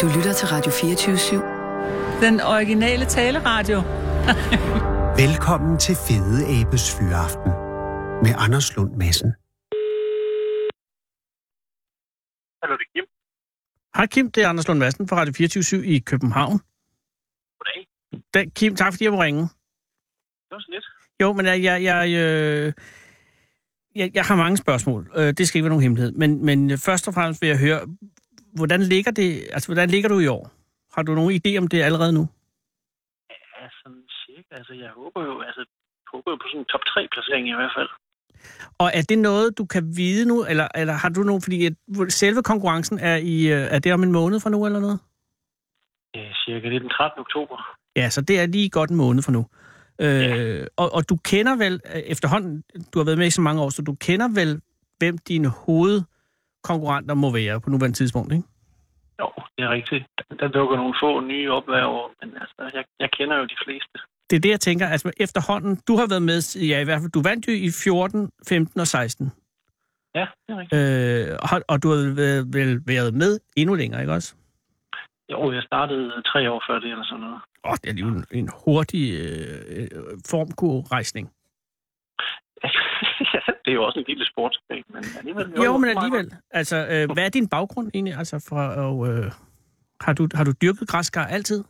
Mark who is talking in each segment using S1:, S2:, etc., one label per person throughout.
S1: Du lytter til Radio 24
S2: Den originale taleradio.
S3: Velkommen til Fede Abes Fyraften med Anders Lund Madsen.
S4: Hallo, det er Kim.
S5: Hej Kim, det er Anders Lund Madsen fra Radio 24 i København.
S4: Goddag.
S5: Da, Kim, tak fordi jeg må ringe.
S4: Det var så lidt.
S5: Jo, men jeg, jeg, jeg, øh, jeg, jeg har mange spørgsmål. Øh, det skal ikke være nogen hemmelighed. Men, men øh, først og fremmest vil jeg høre, hvordan ligger, det, altså, hvordan ligger du i år? Har du nogen idé om det allerede nu?
S4: Ja, sådan cirka. Altså, jeg håber jo, altså, jeg håber jo på sådan en top 3 placering i hvert fald.
S5: Og er det noget, du kan vide nu, eller, eller har du nogen, fordi at selve konkurrencen er, i, øh, er det om en måned fra nu eller noget?
S4: Ja, cirka. Det er den 13. oktober.
S5: Ja, så det er lige godt en måned fra nu. Øh, og, og du kender vel øh, efterhånden, du har været med i så mange år, så du kender vel, hvem dine hovedkonkurrenter må være på nuværende tidspunkt, ikke?
S4: Jo, det er rigtigt. Der, der dukker nogle få nye op hver år, men altså, jeg, jeg kender jo de fleste.
S5: Det er det, jeg tænker. Altså efterhånden, du har været med, ja i hvert fald, du vandt jo i 14, 15 og 16.
S4: Ja, det er rigtigt.
S5: Øh, og, har- og du har vel, vel været med endnu længere, ikke også?
S4: Jo, jeg startede øh, tre år før det eller sådan noget.
S5: Åh, det er lige en, en hurtig øh, øh, formkurrejsning.
S4: ja, det er jo også en lille sportsbane, men alligevel...
S5: Jo, men alligevel. Altså, øh, hvad er din baggrund egentlig? Altså, fra, og, øh, har, du, har du dyrket græskar altid?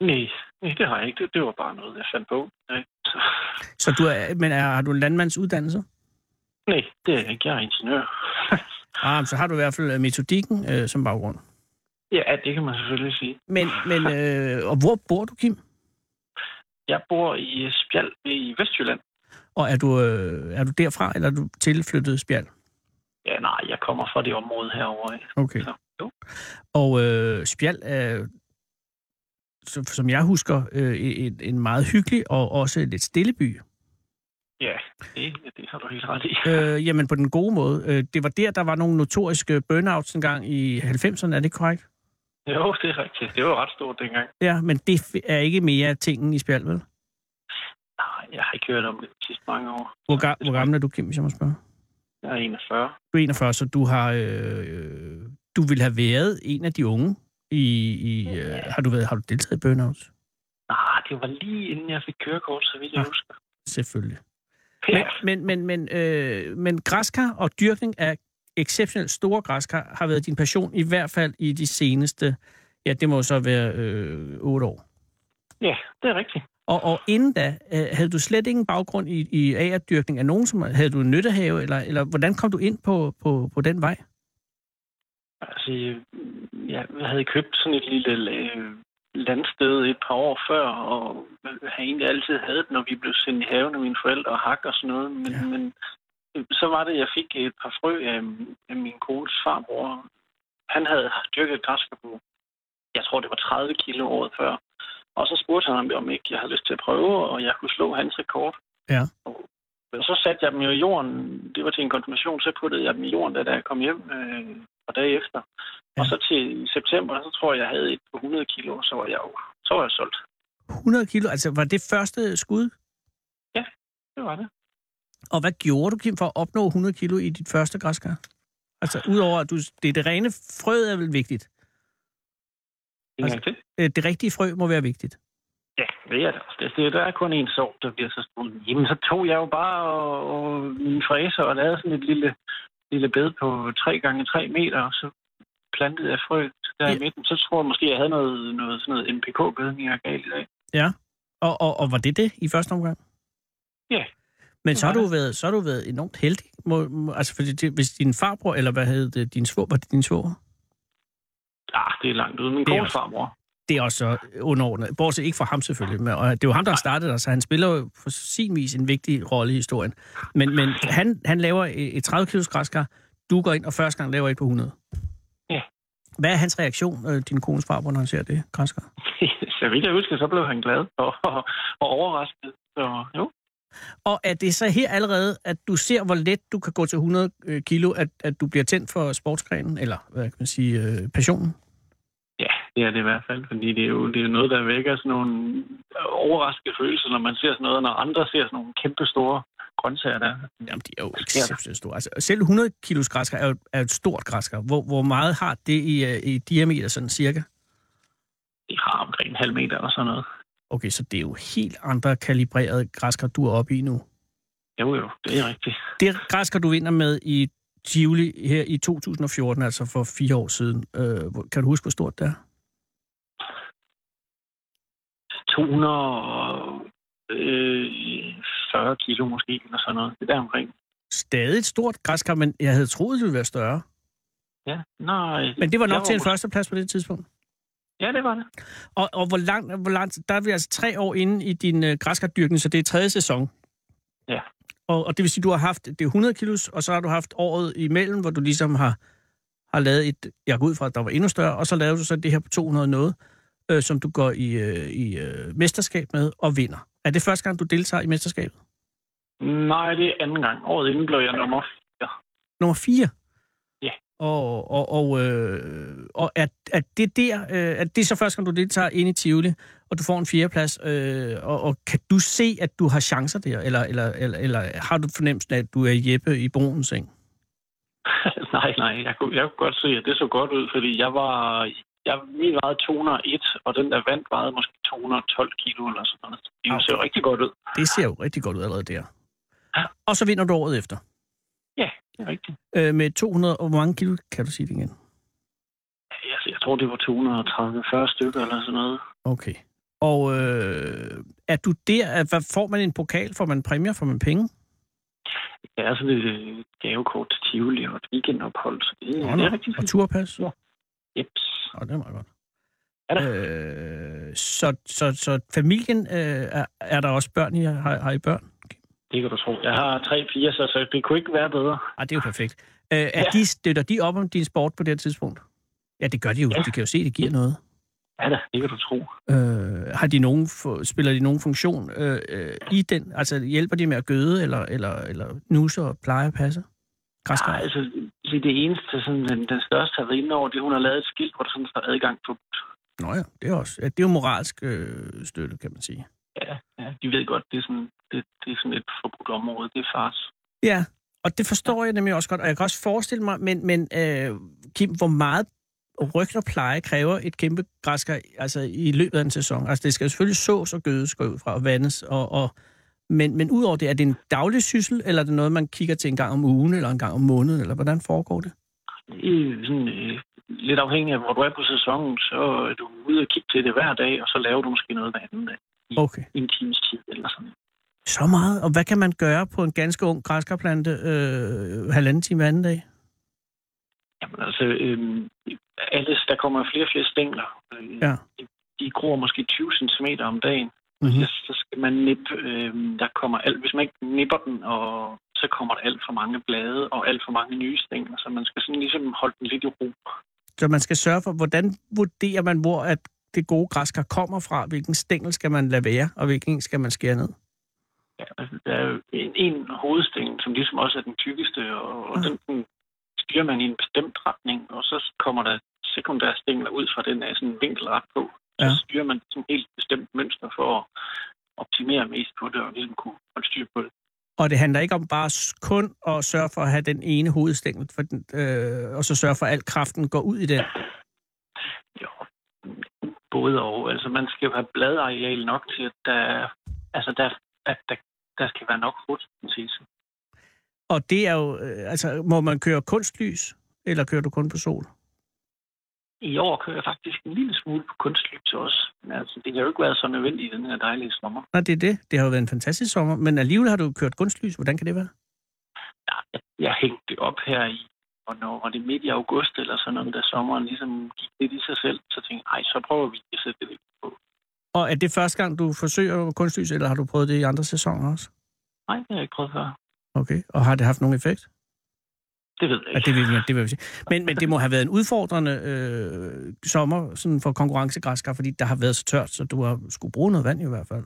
S4: Nej, nej, det har jeg ikke. Det, det var bare noget, jeg fandt på. Ja, så,
S5: Så du er, men er, har du en landmandsuddannelse?
S4: nej, det er jeg ikke. Jeg er ingeniør.
S5: Ah, men så har du i hvert fald øh, metodikken øh, som baggrund.
S4: ja, det kan man selvfølgelig sige.
S5: Men, men øh, og hvor bor du, Kim?
S4: Jeg bor i Spjald i Vestjylland.
S5: Og er du, øh, er du derfra, eller er du tilflyttet Spjald?
S4: Ja, nej, jeg kommer fra det område herovre. af.
S5: Okay.
S4: Så, jo.
S5: Og øh, Spjald er, som, som jeg husker, øh, en, en meget hyggelig og også lidt stille by.
S4: Ja, det, det har du helt ret i.
S5: Øh, jamen, på den gode måde. Øh, det var der, der var nogle notoriske burnouts engang i 90'erne, er det korrekt?
S4: Jo, det er rigtigt. Det var ret stort dengang.
S5: Ja, men det er ikke mere tingen i Spjald, vel?
S4: Nej, jeg har ikke hørt om det de sidste mange år.
S5: Hvor, ga- hvor gammel er du, Kim, hvis jeg må spørge?
S4: Jeg er 41.
S5: Du er 41, så du har øh, øh, du vil have været en af de unge i, i øh, har du været har du deltaget i burnouts?
S4: Nej, det var lige inden jeg fik kørekort, så vidt jeg husker.
S5: Selvfølgelig.
S4: Ja,
S5: Men men men øh, men græskar og dyrkning af exceptionelt store græskar har været din passion i hvert fald i de seneste ja, det må jo så være øh, 8 år.
S4: ja det er rigtigt.
S5: Og, og inden da, øh, havde du slet ingen baggrund i, i agerdyrkning af nogen, som havde du en nyttehave, eller, eller hvordan kom du ind på, på, på den vej?
S4: Altså, jeg havde købt sådan et lille øh, landsted et par år før, og har egentlig altid havde det, når vi blev sendt i haven af mine forældre og hak og sådan noget. Men,
S5: Ja.
S4: ja. men øh, så var det, jeg fik et par frø af, af min kones farbror. Han havde dyrket græsker på, jeg tror det var 30 kilo året før. Og så spurgte han mig, om ikke jeg havde lyst til at prøve, og jeg kunne slå hans rekord.
S5: Ja.
S4: Og og så satte jeg dem jo i jorden. Det var til en konfirmation, så puttede jeg dem i jorden, da da jeg kom hjem øh, og dage efter.
S5: Ja.
S4: Ja. Og så til september, så tror jeg, jeg havde et på 100 kilo, så var jeg jo så var jeg solgt.
S5: 100 kilo, altså var det første skud?
S4: Det var det.
S5: Og hvad gjorde du, Kim, for at opnå 100 kilo i dit første græskar? Altså, udover at du, det, er det rene frø er vel vigtigt.
S4: En
S5: Altså-
S4: gang til.
S5: Øh, Det rigtige frø må være vigtigt.
S4: Ja, det er det også. Det, det, der er kun én sort, der bliver så stor. Jamen, så tog jeg jo bare og, og min fræser og lavede sådan et lille, lille bed på 3 gange 3 meter, og så plantede jeg frø der
S5: Ja.
S4: i midten. Så tror jeg måske, jeg havde noget, noget sådan noget NPK-gødning, jeg gav i dag.
S5: Og, og, og var det det i første omgang?
S4: Ja,
S5: Men
S4: det
S5: så har,
S4: var
S5: du været, så har du været enormt heldig. Må, må, altså, fordi det, hvis din farbror, eller hvad hed det, din svor, var det din svoger?
S4: Ah, det er langt ude. Min
S5: Det er
S4: kone
S5: også-
S4: farmor.
S5: Det er også så underordnet. Bortset ikke fra ham selvfølgelig. Men, og det er jo ham, der har startet dig, så han spiller jo på sin vis en vigtig rolle i historien. Men, men han, han laver et et 30 kilos græskar. Du går ind og første gang laver et på 100.
S4: Ja.
S5: Hvad er hans reaktion, øh, din kones farbror, når han ser det græskar?
S4: så vidt jeg husker, så blev han glad og, og, og overrasket. Så jo,
S5: Og er det så her allerede, at du ser, hvor let du kan gå til 100 kilo, at, at du bliver tændt for sportsgrenen, eller hvad kan man sige, øh, passionen?
S4: Ja, det er det i hvert fald, fordi det er jo det er noget, der vækker sådan nogle overraskende følelser, når man ser sådan noget, når andre ser sådan nogle kæmpe store grøntsager der er.
S5: Jamen, de er jo
S4: Ja.
S5: exceptionelt store. Altså, selv 100 kilos græskar er jo er et stort græskar. Hvor, hvor meget har det i, øh, i diameter, sådan cirka?
S4: De har omkring en halv meter eller sådan noget.
S5: Okay, så det er jo helt andre kalibrerede græskar, du er oppe i nu.
S4: Jo jo, det er rigtigt.
S5: Det græskar, du vinder med i Tivoli her i 2014, altså for fire år siden, øh, hvor- kan du huske, hvor stort det er?
S4: 240 øh, kilo måske, eller sådan noget. Det er der omkring.
S5: Stadig et stort græskar, men jeg havde troet, det ville være større.
S4: Ja, nej.
S5: Men det var nok
S4: Jeg
S5: til en
S4: var-
S5: førsteplads på det tidspunkt.
S4: Ja, det var det.
S5: Og, og hvor langt, hvor langt, der er vi altså tre år inde i din øh, græskardyrkning, så det er tredje sæson.
S4: Ja.
S5: Og, og det vil sige, du har haft, det er 100 kilos, og så har du haft året imellem, hvor du ligesom har, har lavet et, jeg går ud fra, at der var endnu større, og så lavede du så det her på 200 noget, øh, som du går i, øh, i øh, mesterskab med og vinder. Er det første gang, du deltager i mesterskabet?
S4: Nej, det er anden gang. Året inden blev jeg nummer
S5: Nummer 4?
S4: Ja.
S5: Og, og, og, øh, og er, er, det der, øh, er det så første gang, du deltager ind i Tivoli, og du får en fjerdeplads, øh, og, og kan du se, at du har chancer der, eller, eller, eller, eller har du fornemmelsen af, at du er Jeppe i broens seng?
S4: nej, nej, jeg kunne, jeg kunne godt se, at det så godt ud, fordi jeg var... Jeg, min vejede 201, og den der vandt vejede måske 212 kilo eller sådan noget. Det
S5: Ah,
S4: okay. ser rigtig godt ud.
S5: Det ser jo rigtig godt ud allerede der.
S4: Ja.
S5: Og så vinder du året efter.
S4: Det er rigtigt.
S5: Øh, med 200, og hvor mange kilo kan du sige det igen?
S4: Jeg, altså, jeg tror, det var 230-40 stykker eller sådan noget.
S5: Okay. Og øh, er du der, at- hvad, får man en pokal, får man præmier, får man penge?
S4: Det er sådan et øh, gavekort til Tivoli og et weekendophold, så det,
S5: Nå,
S4: ja,
S5: nå.
S4: det er rigtig
S5: Og
S4: fint.
S5: turpas?
S4: Jeps.
S5: Nå, det er meget godt.
S4: Ja da.
S5: Øh, så, så, så familien, øh, er, er der også børn i? Har, har I børn?
S4: Det kan du tro. Jeg har tre piger, så, så det kunne ikke være bedre.
S5: Ah, det er jo perfekt. Øh, er
S4: Ja.
S5: de, støtter de op om din sport på det her tidspunkt? Ja, det gør de jo.
S4: Ja.
S5: De kan jo se, det giver noget.
S4: Ja da, det kan du tro.
S5: Øh, har de nogen, fu- spiller de nogen funktion øh, øh, i den? Altså, hjælper de med at gøde, eller, eller, eller nuse og pleje og passe? Græskar?
S4: Nej, altså det, det eneste, sådan, den, den største har været inde over, det er, hun har lavet et skilt, hvor der sådan står adgang på.
S5: Nå ja, det er, også, ja, det er jo moralsk øh, støtte, kan man sige.
S4: Ja, ja, de ved godt, det er sådan, det, det er sådan et forbudt område, det er fars.
S5: Ja, og det forstår jeg nemlig også godt, og jeg kan også forestille mig, men, men øh, Kim, hvor meget ryg og pleje kræver et kæmpe græskar altså, i løbet af en sæson? Altså, det skal jo selvfølgelig sås og gødes, gå ud fra, og vandes, og, og men, men udover det, er det en daglig syssel, eller er det noget, man kigger til en gang om ugen, eller en gang om måneden, eller hvordan foregår det?
S4: Det er sådan, øh, lidt afhængig af, hvor du er på sæsonen, så er du ude og kigge til det hver dag, og så laver du måske noget hver anden dag.
S5: Okay.
S4: i En times tid eller sådan.
S5: Så meget. Og hvad kan man gøre på en ganske ung græskarplante øh, halvanden time hver anden dag?
S4: Jamen altså, øhm, alles, der kommer flere og flere stængler. Øh,
S5: Ja.
S4: de, de gror måske 20 cm om dagen.
S5: Mhm.
S4: Så, så skal man nippe. Øhm, der kommer alt, hvis man ikke nipper den, og så kommer der alt for mange blade og alt for mange nye stængler. Så man skal sådan ligesom holde den lidt i ro.
S5: Så man skal sørge for, hvordan vurderer man, hvor at det gode græskar kommer fra? Hvilken stængel skal man lade være, og hvilken skal man skære ned?
S4: Ja, altså, der er jo en, en hovedstængel, som ligesom også er den tykkeste, og, og
S5: Ja.
S4: den, den styrer man i en bestemt retning, og så kommer der sekundære stængler ud fra den af sådan en vinkelret på. Så
S5: Ja.
S4: styrer man sådan et helt bestemt mønster for at optimere mest på det, og ligesom kunne holde styr på det.
S5: Og det handler ikke om bare s- kun at sørge for at have den ene hovedstængel, for den, øh, og så sørge for, at al kraften går ud i den.
S4: Jo, både og. Altså, man skal jo have bladareal nok til, at der, altså, der, at der, der skal være nok fotosyntese.
S5: Og det er jo, øh, altså, må man køre kunstlys, eller kører du kun på sol?
S4: I år kører jeg faktisk en lille smule på kunstlys også. Men altså, det har jo ikke været så nødvendigt i den her dejlige sommer.
S5: Nej, det er det. Det har jo været en fantastisk sommer, men alligevel har du kørt kunstlys. Hvordan kan det være?
S4: jeg hængte det op her i, og når var det midt i august eller sådan noget, da sommeren ligesom gik lidt i sig selv, så tænkte jeg, ej, så prøver vi at sætte det lidt.
S5: Og er det første gang, du forsøger kunstlys, eller har du prøvet det i andre sæsoner også?
S4: Nej, det har jeg ikke prøvet før.
S5: Okay, og har det haft nogen effekt?
S4: Det ved jeg
S5: Ja,
S4: ikke.
S5: det vil, jeg- det vil jeg sige. Men, men det må have været en udfordrende øh, sommer sådan for konkurrencegræskar, fordi der har været så tørt, så du har skulle bruge noget vand i hvert fald.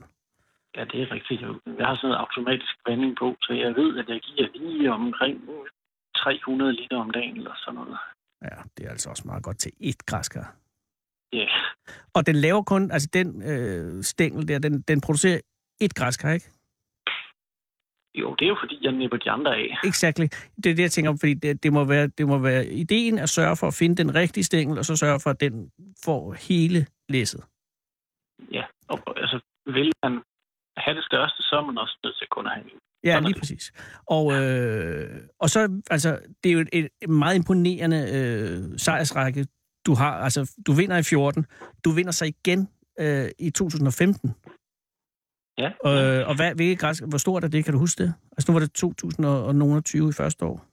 S4: Ja, det er rigtigt. Jeg har sådan noget automatisk vanding på, så jeg ved, at jeg giver lige omkring 300 liter om dagen eller sådan noget.
S5: Ja, det er altså også meget godt til ét græskar.
S4: Ja,
S5: Og den laver kun, altså den øh, stængel der, den, den producerer ét græskar, ikke?
S4: Jo, det er jo fordi, jeg nipper de andre af.
S5: Exactly. Det er det, jeg tænker om, fordi det, det, må være, det må være ideen at sørge for at finde den rigtige stængel, og så sørge for, at den får hele læsset.
S4: Ja, og altså, vil man have det største, så er man også nødt til kun at have en.
S5: Ja,
S4: Sådan er
S5: lige
S4: det.
S5: præcis. Og, øh, og så, altså, det er jo et, et meget imponerende øh, sejrsrække, du har. Altså, du vinder i 14, du vinder så igen øh, i 2015.
S4: Ja,
S5: Øh, og hvad, hvilket græs, hvor stort er det, kan du huske det? Altså, nu var det 2020 i første år.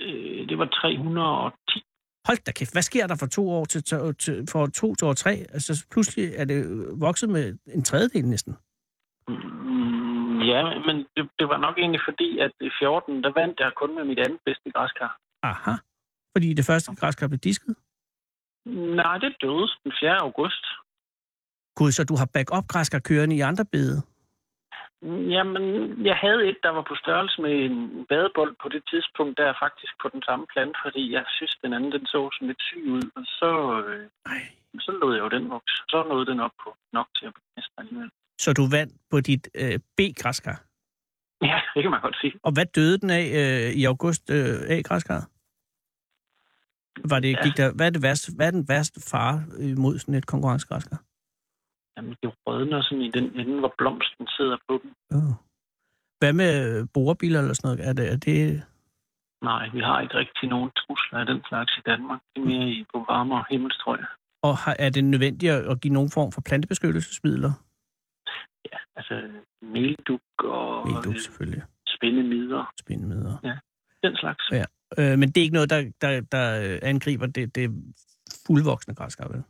S4: øh, det var 310.
S5: Hold da kæft, hvad sker der fra to år til, til, til fra to til år tre? Altså, pludselig er det øh, vokset med en tredjedel næsten.
S4: Mm, ja, men det, det, var nok egentlig fordi, at i 14, der vandt jeg kun med mit andet bedste græskar.
S5: Aha. Fordi det første græskar blev disket.
S4: Nej, det døde den 4. august.
S5: Gud, så du har backup græskar kørende i andre bede.
S4: Jamen, jeg havde et, der var på størrelse med en badebold på det tidspunkt, der er faktisk på den samme plante, fordi jeg synes, den anden den så sådan lidt syg ud, og så, øh,
S5: Ej.
S4: så lod jeg jo den vokse. Så nåede den op på nok til at blive mester alligevel.
S5: Så du vandt på dit øh, B-græskar.
S4: Ja, det kan man godt sige.
S5: Og hvad døde den af øh, i august øh, af græskaret? Var det,
S4: Ja.
S5: gik der, hvad, er det værste, hvad er den værste fare øh, mod sådan et konkurrencegræskar?
S4: Jamen, det rødner sådan i den ende, hvor blomsten sidder på den.
S5: Oh. Hvad med øh, borebiler eller sådan noget? Er det, er det,
S4: Nej, vi har ikke rigtig nogen trusler af den slags i Danmark. Det er mere i på varmere himmelstrøg.
S5: og har, er det nødvendigt at, at give nogen form for plantebeskyttelsesmidler?
S4: Ja, altså melduk og
S5: Vil du
S4: øh,
S5: selvfølgelig
S4: spændemider.
S5: spinde med.
S4: Ja. Den slags.
S5: Ja. Øh, men det er ikke noget, der, der, der øh, angriber det, det fuldvoksne græskar, vel?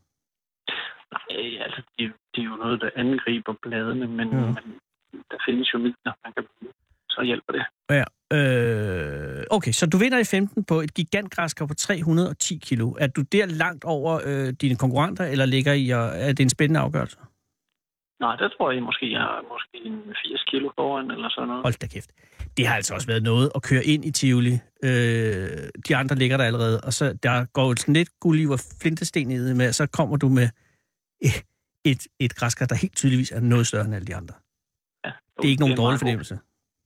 S4: Nej, altså, det, det er jo noget, der angriber bladene, men,
S5: Ja.
S4: ja. men der findes jo midler, man kan bruge. Så hjælper det.
S5: Ja. Øh, okay, så du vinder i 15 på et gigantgræskar på 310 kilo. Er du der langt over øh, dine konkurrenter, eller ligger I, og, er det en spændende afgørelse?
S4: Nej, der tror jeg måske, jeg er måske en 80 kilo foran eller sådan noget.
S5: Hold da kæft. Det har altså også været noget at køre ind i Tivoli. Øh, de andre ligger der allerede, og så der går jo sådan lidt gulliv og flintesten i det med, og så kommer du med et, et, et græskar, der helt tydeligvis er noget større end alle de andre.
S4: Ja.
S5: Det er ikke nogen
S4: en
S5: dårlig
S4: meget god-
S5: fornemmelse.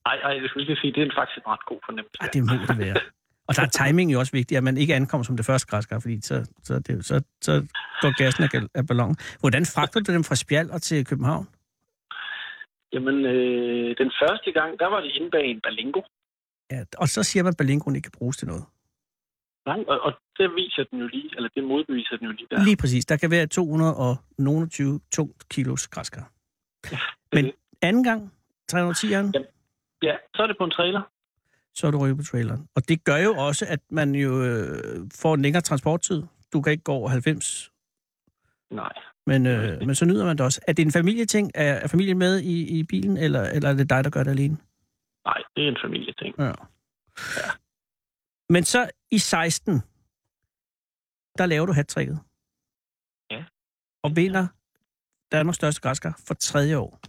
S4: Nej, nej, det skulle jeg lige sige, det er en faktisk en ret god fornemmelse.
S5: Ej, det må det være. Og der er timing jo også vigtigt, at man ikke ankommer som det første græskar, fordi så, så, er det, så, så går gassen af, gal- af ballonen. Hvordan fragter du dem fra Spjald og til København?
S4: Jamen, øh, den første gang, der var det inde bag en balingo.
S5: Ja, og så siger man, at Berlingoen ikke kan bruges til noget.
S4: Nej, og, og det viser den jo lige, eller det modbeviser den jo lige der.
S5: Ja. Lige præcis. Der kan være 220 tungt kilos græskar. Men
S4: det.
S5: anden gang, 310'eren,
S4: Ja. Ja, så er det på en trailer.
S5: så er du rykket på traileren. Og det gør jo også, at man jo øh, får en længere transporttid. Du kan ikke gå over 90,
S4: Nej,
S5: men, øh, men så nyder man det også. Er det en familieting? Er, er familien med i, i bilen, eller, eller er det dig, der gør det alene?
S4: nej, det er en familieting.
S5: Ja. Men så i 16, der laver du hat
S4: Ja.
S5: Og vinder Danmarks største græskar for tredje år.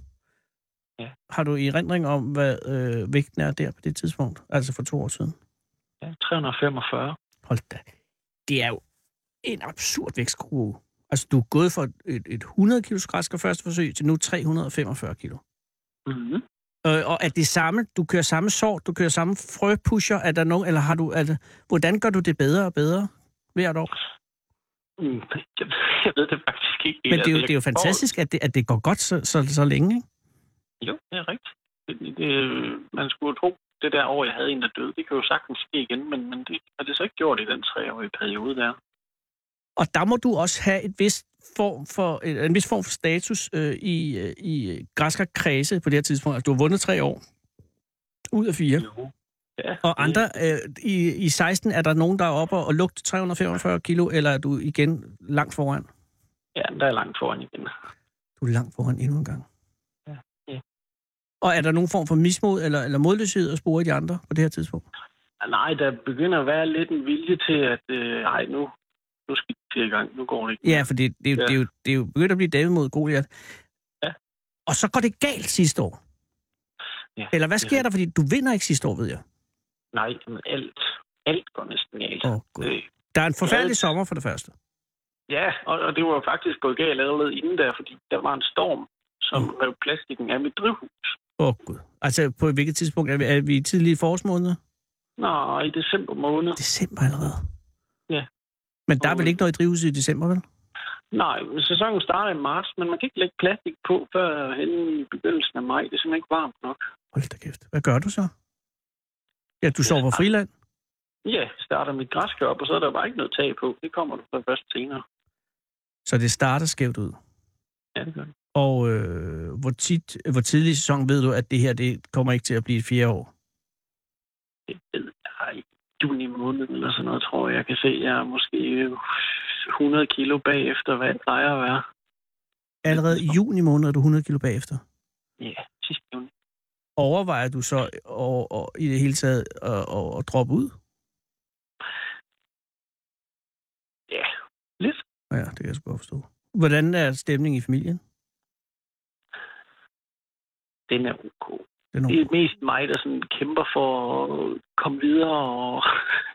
S4: Ja.
S5: Har du i erindring om, hvad øh, vægten er der på det tidspunkt? Altså for to år siden?
S4: Ja, 345.
S5: Hold da. Det er jo en absurd vægtskurve. Altså, du er gået fra et, et 100 kilos græskar første forsøg til nu 345 kilo.
S4: Mm-hmm.
S5: Øh, og er det samme, du kører samme sort, du kører samme frøpusher, er der nogen, eller har du, er det, hvordan gør du det bedre og bedre hvert år?
S4: Mm, jeg, jeg ved det faktisk ikke. helt.
S5: Men det er jo,
S4: Altså,
S5: det er jo
S4: jeg-
S5: fantastisk, at det, at det går godt så, så, så længe, ikke?
S4: Jo, det er rigtigt. Det, det, man skulle jo tro, det der år, jeg havde en, der døde, det kan jo sagtens ske igen, men, men det har det så ikke gjort i den treårige periode der.
S5: Og der må du også have et vis form for, øh, en vis form for status øh, i, øh, i græsker kredse på det her tidspunkt. Altså, du har vundet tre år ud af fire.
S4: Jo. Ja,
S5: Og andre, øh, i, i 16 er der nogen, der er oppe og lugter 345 kilo, eller er du igen langt foran?
S4: Ja, der er langt foran igen.
S5: Du er langt foran endnu en gang.
S4: Ja, ja.
S5: Og er der nogen form for mismod eller, eller modløshed at spore i de andre på det her tidspunkt?
S4: Ah, Nej, der begynder at være lidt en vilje til, at øh, ej, nu, nu skal det i gang, nu går det ikke.
S5: Ja, for det, det, er jo-
S4: Ja.
S5: det, er jo, det er jo begyndt at blive David mod Goliath.
S4: Ja.
S5: Og så går det galt sidste år.
S4: Ja,
S5: Eller hvad
S4: det er
S5: sker der? Fordi du vinder ikke sidste år, ved jeg.
S4: Nej, men alt, alt går næsten galt.
S5: Åh, Gud.
S4: Øh,
S5: Der er en forfærdelig
S4: Ja.
S5: sommer for det første.
S4: Ja, og, og det var jo faktisk gået galt allerede inden der, fordi der var en storm, som rev plastikken af mit drivhus.
S5: Åh, oh, Gud. Altså, på hvilket tidspunkt? Er vi, er vi tidlige i forårsmåneder?
S4: Nå, i december måned.
S5: December allerede?
S4: Ja.
S5: Men der er vel
S4: Og-
S5: ikke noget drivhus i december, vel?
S4: Nej, sæsonen starter i marts, men man kan ikke lægge plastik på før hen i begyndelsen af maj. Det er simpelthen ikke varmt nok.
S5: Hold da kæft. Hvad gør du så? Ja, du sover på friland.
S4: Ja, starter mit græskar op, og så er der bare ikke noget tag på. Det kommer du så først senere.
S5: Så det starter skævt ud.
S4: Ja, det gør det.
S5: Og øh, hvor, tit, hvor tidlig i sæsonen ved du, at det her det kommer ikke til at blive et fjerde år?
S4: Det ved jeg i juni måned eller sådan noget, tror jeg. Jeg kan se, at jeg er måske øh, 100 kilo bagefter, hvad jeg plejer at være.
S5: Allerede i juni måned er du 100 kilo bagefter.
S4: Ja, sidste juni.
S5: Overvejer du så og, og, i det hele taget at, at, at droppe ud?
S4: Ja, lidt.
S5: Ja, det kan jeg sgu godt forstå. Hvordan er stemningen i familien?
S4: Den er ok.
S5: Den er
S4: Det er mest mig, der sådan kæmper for at komme videre og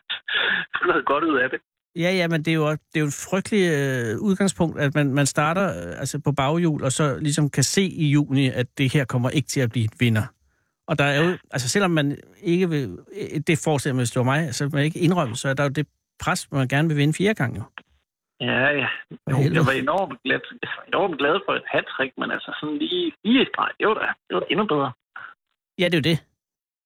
S4: få noget godt ud af det.
S5: Ja, ja, men det er jo, også- det er jo et frygteligt øh, udgangspunkt, at man, man starter øh, altså på baghjul, og så ligesom kan se i juni, at det her kommer ikke til at blive et vinder. Og der er jo, altså selvom man ikke vil, øh, det forestiller mig, hvis det var mig, så vil man ikke indrømme, så er der jo det pres, man gerne vil vinde fire gange. Jo.
S4: Ja, ja.
S5: For
S4: Jo, jeg
S5: helvede.
S4: var enormt glad, jeg var enormt glad for et hat men altså sådan lige fire streg, det var da det var endnu bedre.
S5: Ja, det er jo det.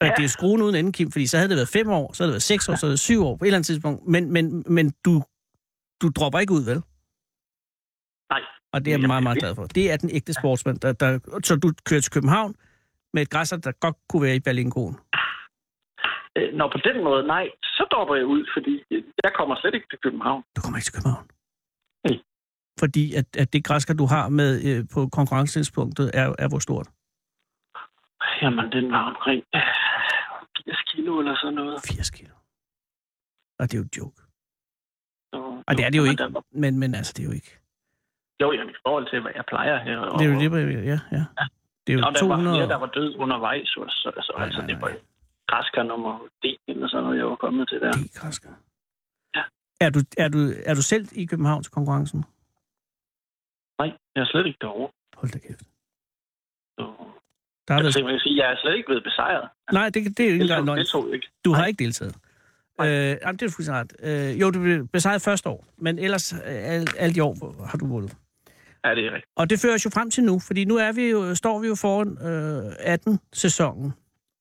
S5: Og
S4: Ja.
S5: det er jo skruen uden ende, Kim, fordi så havde det været fem år, så havde det været seks år, så havde det været syv år på et eller andet tidspunkt. Men, men, men du, du dropper ikke ud, vel?
S4: Nej.
S5: Og det er jeg
S4: Jamen,
S5: meget, meget
S4: det-
S5: glad for. Det er den ægte sportsmand. Der, der, så du kører til København med et græsser, der godt kunne være i Berlingoen.
S4: Øh, Når på den måde, nej, så dropper jeg ud, fordi øh, jeg kommer slet ikke til København.
S5: Du kommer ikke til København.
S4: Nej.
S5: Fordi at, at det græsker, du har med øh, på konkurrencetidspunktet, er, er hvor stort?
S4: Jamen, den var omkring øh, 80 kilo eller sådan noget.
S5: 80 kilo. Og det er jo et joke.
S4: Så,
S5: Og det er det jo
S4: men
S5: ikke.
S4: der var-
S5: Men, men altså, det er jo ikke.
S4: Jo, jamen, i forhold til, hvad jeg plejer her. Og,
S5: Det er jo det, jeg- ja, ja. Det
S4: og
S5: er jo
S4: der var
S5: 200...
S4: flere, der var død undervejs, så, så, så
S5: Nej,
S4: altså,
S5: nej,
S4: det
S5: nej.
S4: var græskar nummer D eller sådan noget, jeg var kommet til der.
S5: Det er græsker.
S4: Ja.
S5: Er du, er, du, er du selv i København til konkurrencen?
S4: Nej, jeg er slet ikke derovre.
S5: Hold da kæft.
S4: Så,
S5: Der har
S4: altså,
S5: været...
S4: man kan sige, jeg er slet ikke blevet besejret.
S5: Nej, det, det er jo ikke
S4: Det
S5: engang
S4: tog,
S5: løgn.
S4: det tog ikke.
S5: Du har ikke deltaget. Øh,
S4: Nej.
S5: jamen, det er du fuldstændig ret. Øh, jo, du blev besejret første år, men ellers øh, alt, alt i år har du vundet.
S4: Ja, det er rigtigt.
S5: Og det fører os jo frem til nu, fordi nu er vi jo, står vi jo foran øh, 18-sæsonen,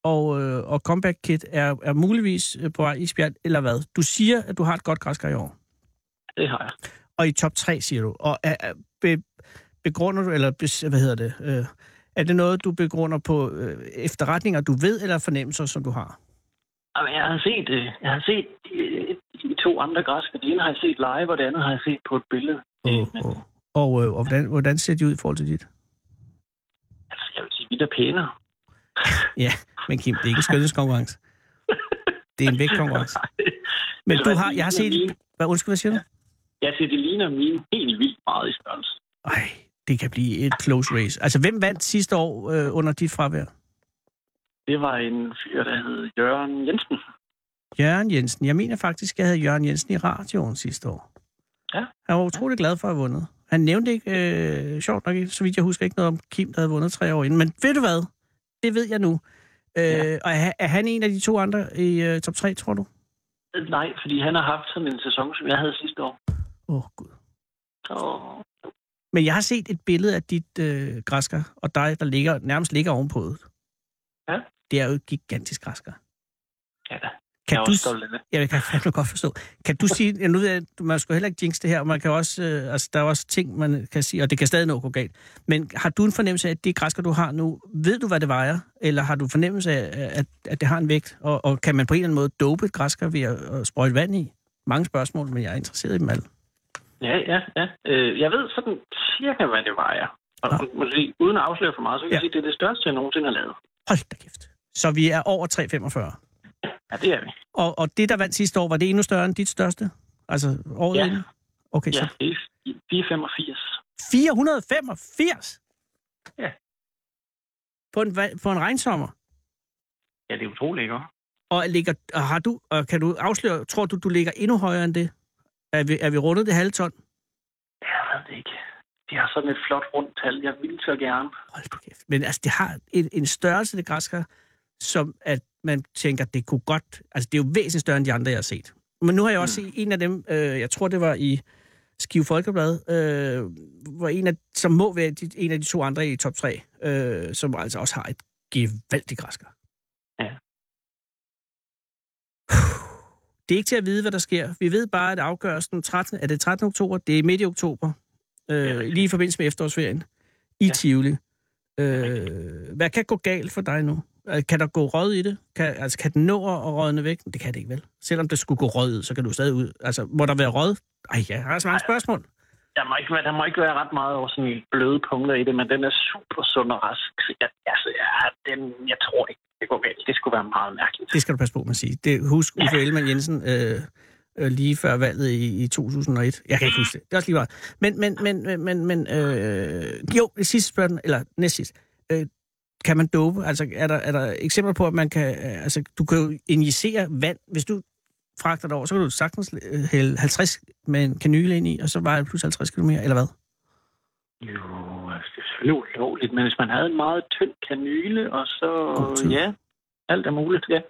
S5: og, øh, og Comeback Kit er, er muligvis øh, på vej i spjald, eller hvad? Du siger, at du har et godt græskar i år,
S4: Det har jeg.
S5: og i top 3, siger du. Og er, er, be, begrunder du, eller bes- hvad hedder det, øh, er det noget, du begrunder på øh, efterretninger, du ved, eller fornemmelser, som du har?
S4: Jamen, jeg har set, øh, jeg har set øh, de to andre græske. Det ene har jeg set live, og det andet har jeg set på et billede. Øh, men,
S5: Og, og, øh, og hvordan, hvordan ser de ud i forhold til dit?
S4: altså, jeg vil sige, vi er da pænere.
S5: Ja, men Kim, det er ikke en skønhedskonkurrence. Det er en vægtkonkurrence. Men
S4: Ved Altså,
S5: du
S4: hvad,
S5: har,
S4: de
S5: jeg har
S4: ligner
S5: set...
S4: mine-
S5: Hvad, undskyld, hvad siger du?
S4: Jeg siger, de ligner mine helt vildt meget i størrelse.
S5: Ej, det kan blive et close race. Altså, hvem vandt sidste år øh, under dit fravær?
S4: Det var en fyr, der hed Jørgen Jensen.
S5: Jørgen Jensen. Jeg mener faktisk, jeg havde Jørgen Jensen i radioen sidste år.
S4: Ja.
S5: Han var utrolig glad for at have vundet. Han nævnte ikke, øh, sjovt nok, ikke, så vidt jeg husker ikke noget om Kim, der havde vundet tre år inden. Men ved du hvad? Det ved jeg nu. Øh,
S4: Ja.
S5: Og er, er han en af de to andre i øh, top 3, tror du?
S4: Øh, Nej, fordi han har haft sådan en sæson, som jeg havde sidste år.
S5: Åh, oh, gud.
S4: Så
S5: Men jeg har set et billede af dit øh, græsker, og dig, der ligger, nærmest ligger ovenpå det.
S4: Ja.
S5: Det er jo et gigantisk græsker.
S4: ja, da. jeg
S5: Kan
S4: er
S5: du,
S4: også stolt af det.
S5: ja, jeg kan fandme godt forstå. Kan du sige, ja, nu ved jeg, at man skal heller ikke jinx det her, og man kan også, øh, altså, der er også ting, man kan sige, og det kan stadig nå at gå galt. Men har du en fornemmelse af, at det græsker, du har nu, ved du, hvad det vejer? Eller har du en fornemmelse af, at, at det har en vægt? Og, og kan man på en eller anden måde dope et græsker ved at, at sprøjte vand i? Mange spørgsmål, men jeg er interesseret i dem alle.
S4: Ja, ja, ja. Øh, jeg ved sådan cirka, hvad det vejer. Og
S5: Nå.
S4: måske, uden at afsløre for meget, så kan
S5: Ja.
S4: jeg sige, at det er det største, jeg nogensinde har lavet.
S5: Hold da kæft. Så vi er over 3,45.
S4: Ja, det er vi.
S5: Og, og det, der vandt sidste år, var det endnu større end dit største? Altså året
S4: Ja.
S5: inden? Okay,
S4: Ja,
S5: så
S4: det er, de er 85.
S5: 485?
S4: Ja.
S5: På en, va- på en regnsommer?
S4: Ja, det er utroligt, ikke? også?
S5: Og, ligger, og har du, og kan du afsløre, tror du, du ligger endnu højere end det? Er vi, er vi rundet det halve ton?
S4: Ja, Jeg ved det ikke. de har sådan et flot rundt tal. Jeg ville så gerne.
S5: Hold du kæft. Men altså, det har en, en størrelse, det græskar, som at man tænker, det kunne godt... Altså, det er jo væsentligt større end de andre, jeg har set. Men nu har jeg også set en af dem, øh, jeg tror, det var i Skive Folkeblad, øh, hvor en af, som må være de, en af de to andre i top 3, øh, som altså også har et gevaldigt græskar.
S4: Ja.
S5: Det er ikke til at vide, hvad der sker. Vi ved bare, at afgørelsen 13, er det 13. oktober? Det er midt i oktober. Øh,
S4: rigtigt.
S5: lige i forbindelse med efterårsferien i ja.
S4: Ja.
S5: Tivoli. Øh, hvad kan gå galt for dig nu? Øh, Kan der gå rød i det? Kan, altså, kan den nå at at rådne væk? Det kan det ikke, vel? Selvom det skulle gå rød ud, så kan du stadig ud. Altså, må der være rød? Ej, jeg har så mange spørgsmål.
S4: Der må, ikke, være- der må ikke være ret meget over sådan bløde punkter i det, men den er super sund og rask. Så jeg, altså, jeg, den, jeg tror ikke, det går galt. Det skulle være meget mærkeligt.
S5: Det skal du passe på med at sige. Det, husk Uffe Ellemann Jensen øh, øh, lige før valget i, i 2001. Jeg kan ikke huske det. Det er også lige meget. Men, men, men, men, men øh, jo, det sidste spørgsmål, eller næst sidst. Øh, kan man dope? Altså, er der, er der eksempler på, at man kan... øh, Altså, du kan jo injicere vand. Hvis du fragter dig over, så kan du sagtens øh, hælde 50 med en kanyle ind i, og så vejer det plus 50 km, eller hvad?
S4: Jo, altså, det er selvfølgelig ulovligt, men hvis man havde en meget tynd kanyle, og så...
S5: God tid.
S4: Ja, alt er muligt, ja.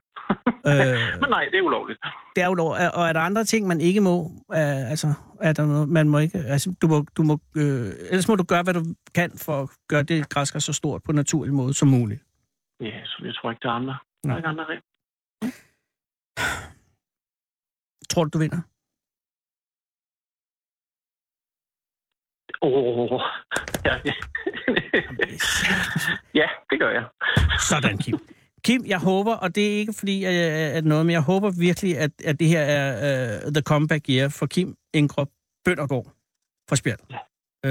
S5: Øh,
S4: Men nej, det er ulovligt.
S5: det er jo lov. Er- Og er der andre ting, man ikke må? Er, altså, er der noget, man må ikke... Altså, du må, du må, øh, ellers må du gøre, hvad du kan for at gøre det græsker så stort på en naturlig måde som muligt.
S4: Ja, så jeg tror ikke, der er andre. Der
S5: Nej.
S4: er ikke andre regler.
S5: Tror du, du vinder?
S4: Åh, ja. ja, det gør jeg.
S5: Sådan, Kim. Kim, jeg håber, og det er ikke fordi, at jeg er noget, men jeg håber virkelig, at, at det her er uh, the comeback year for Kim Engrup Bøndergaard fra Spjert. Øh,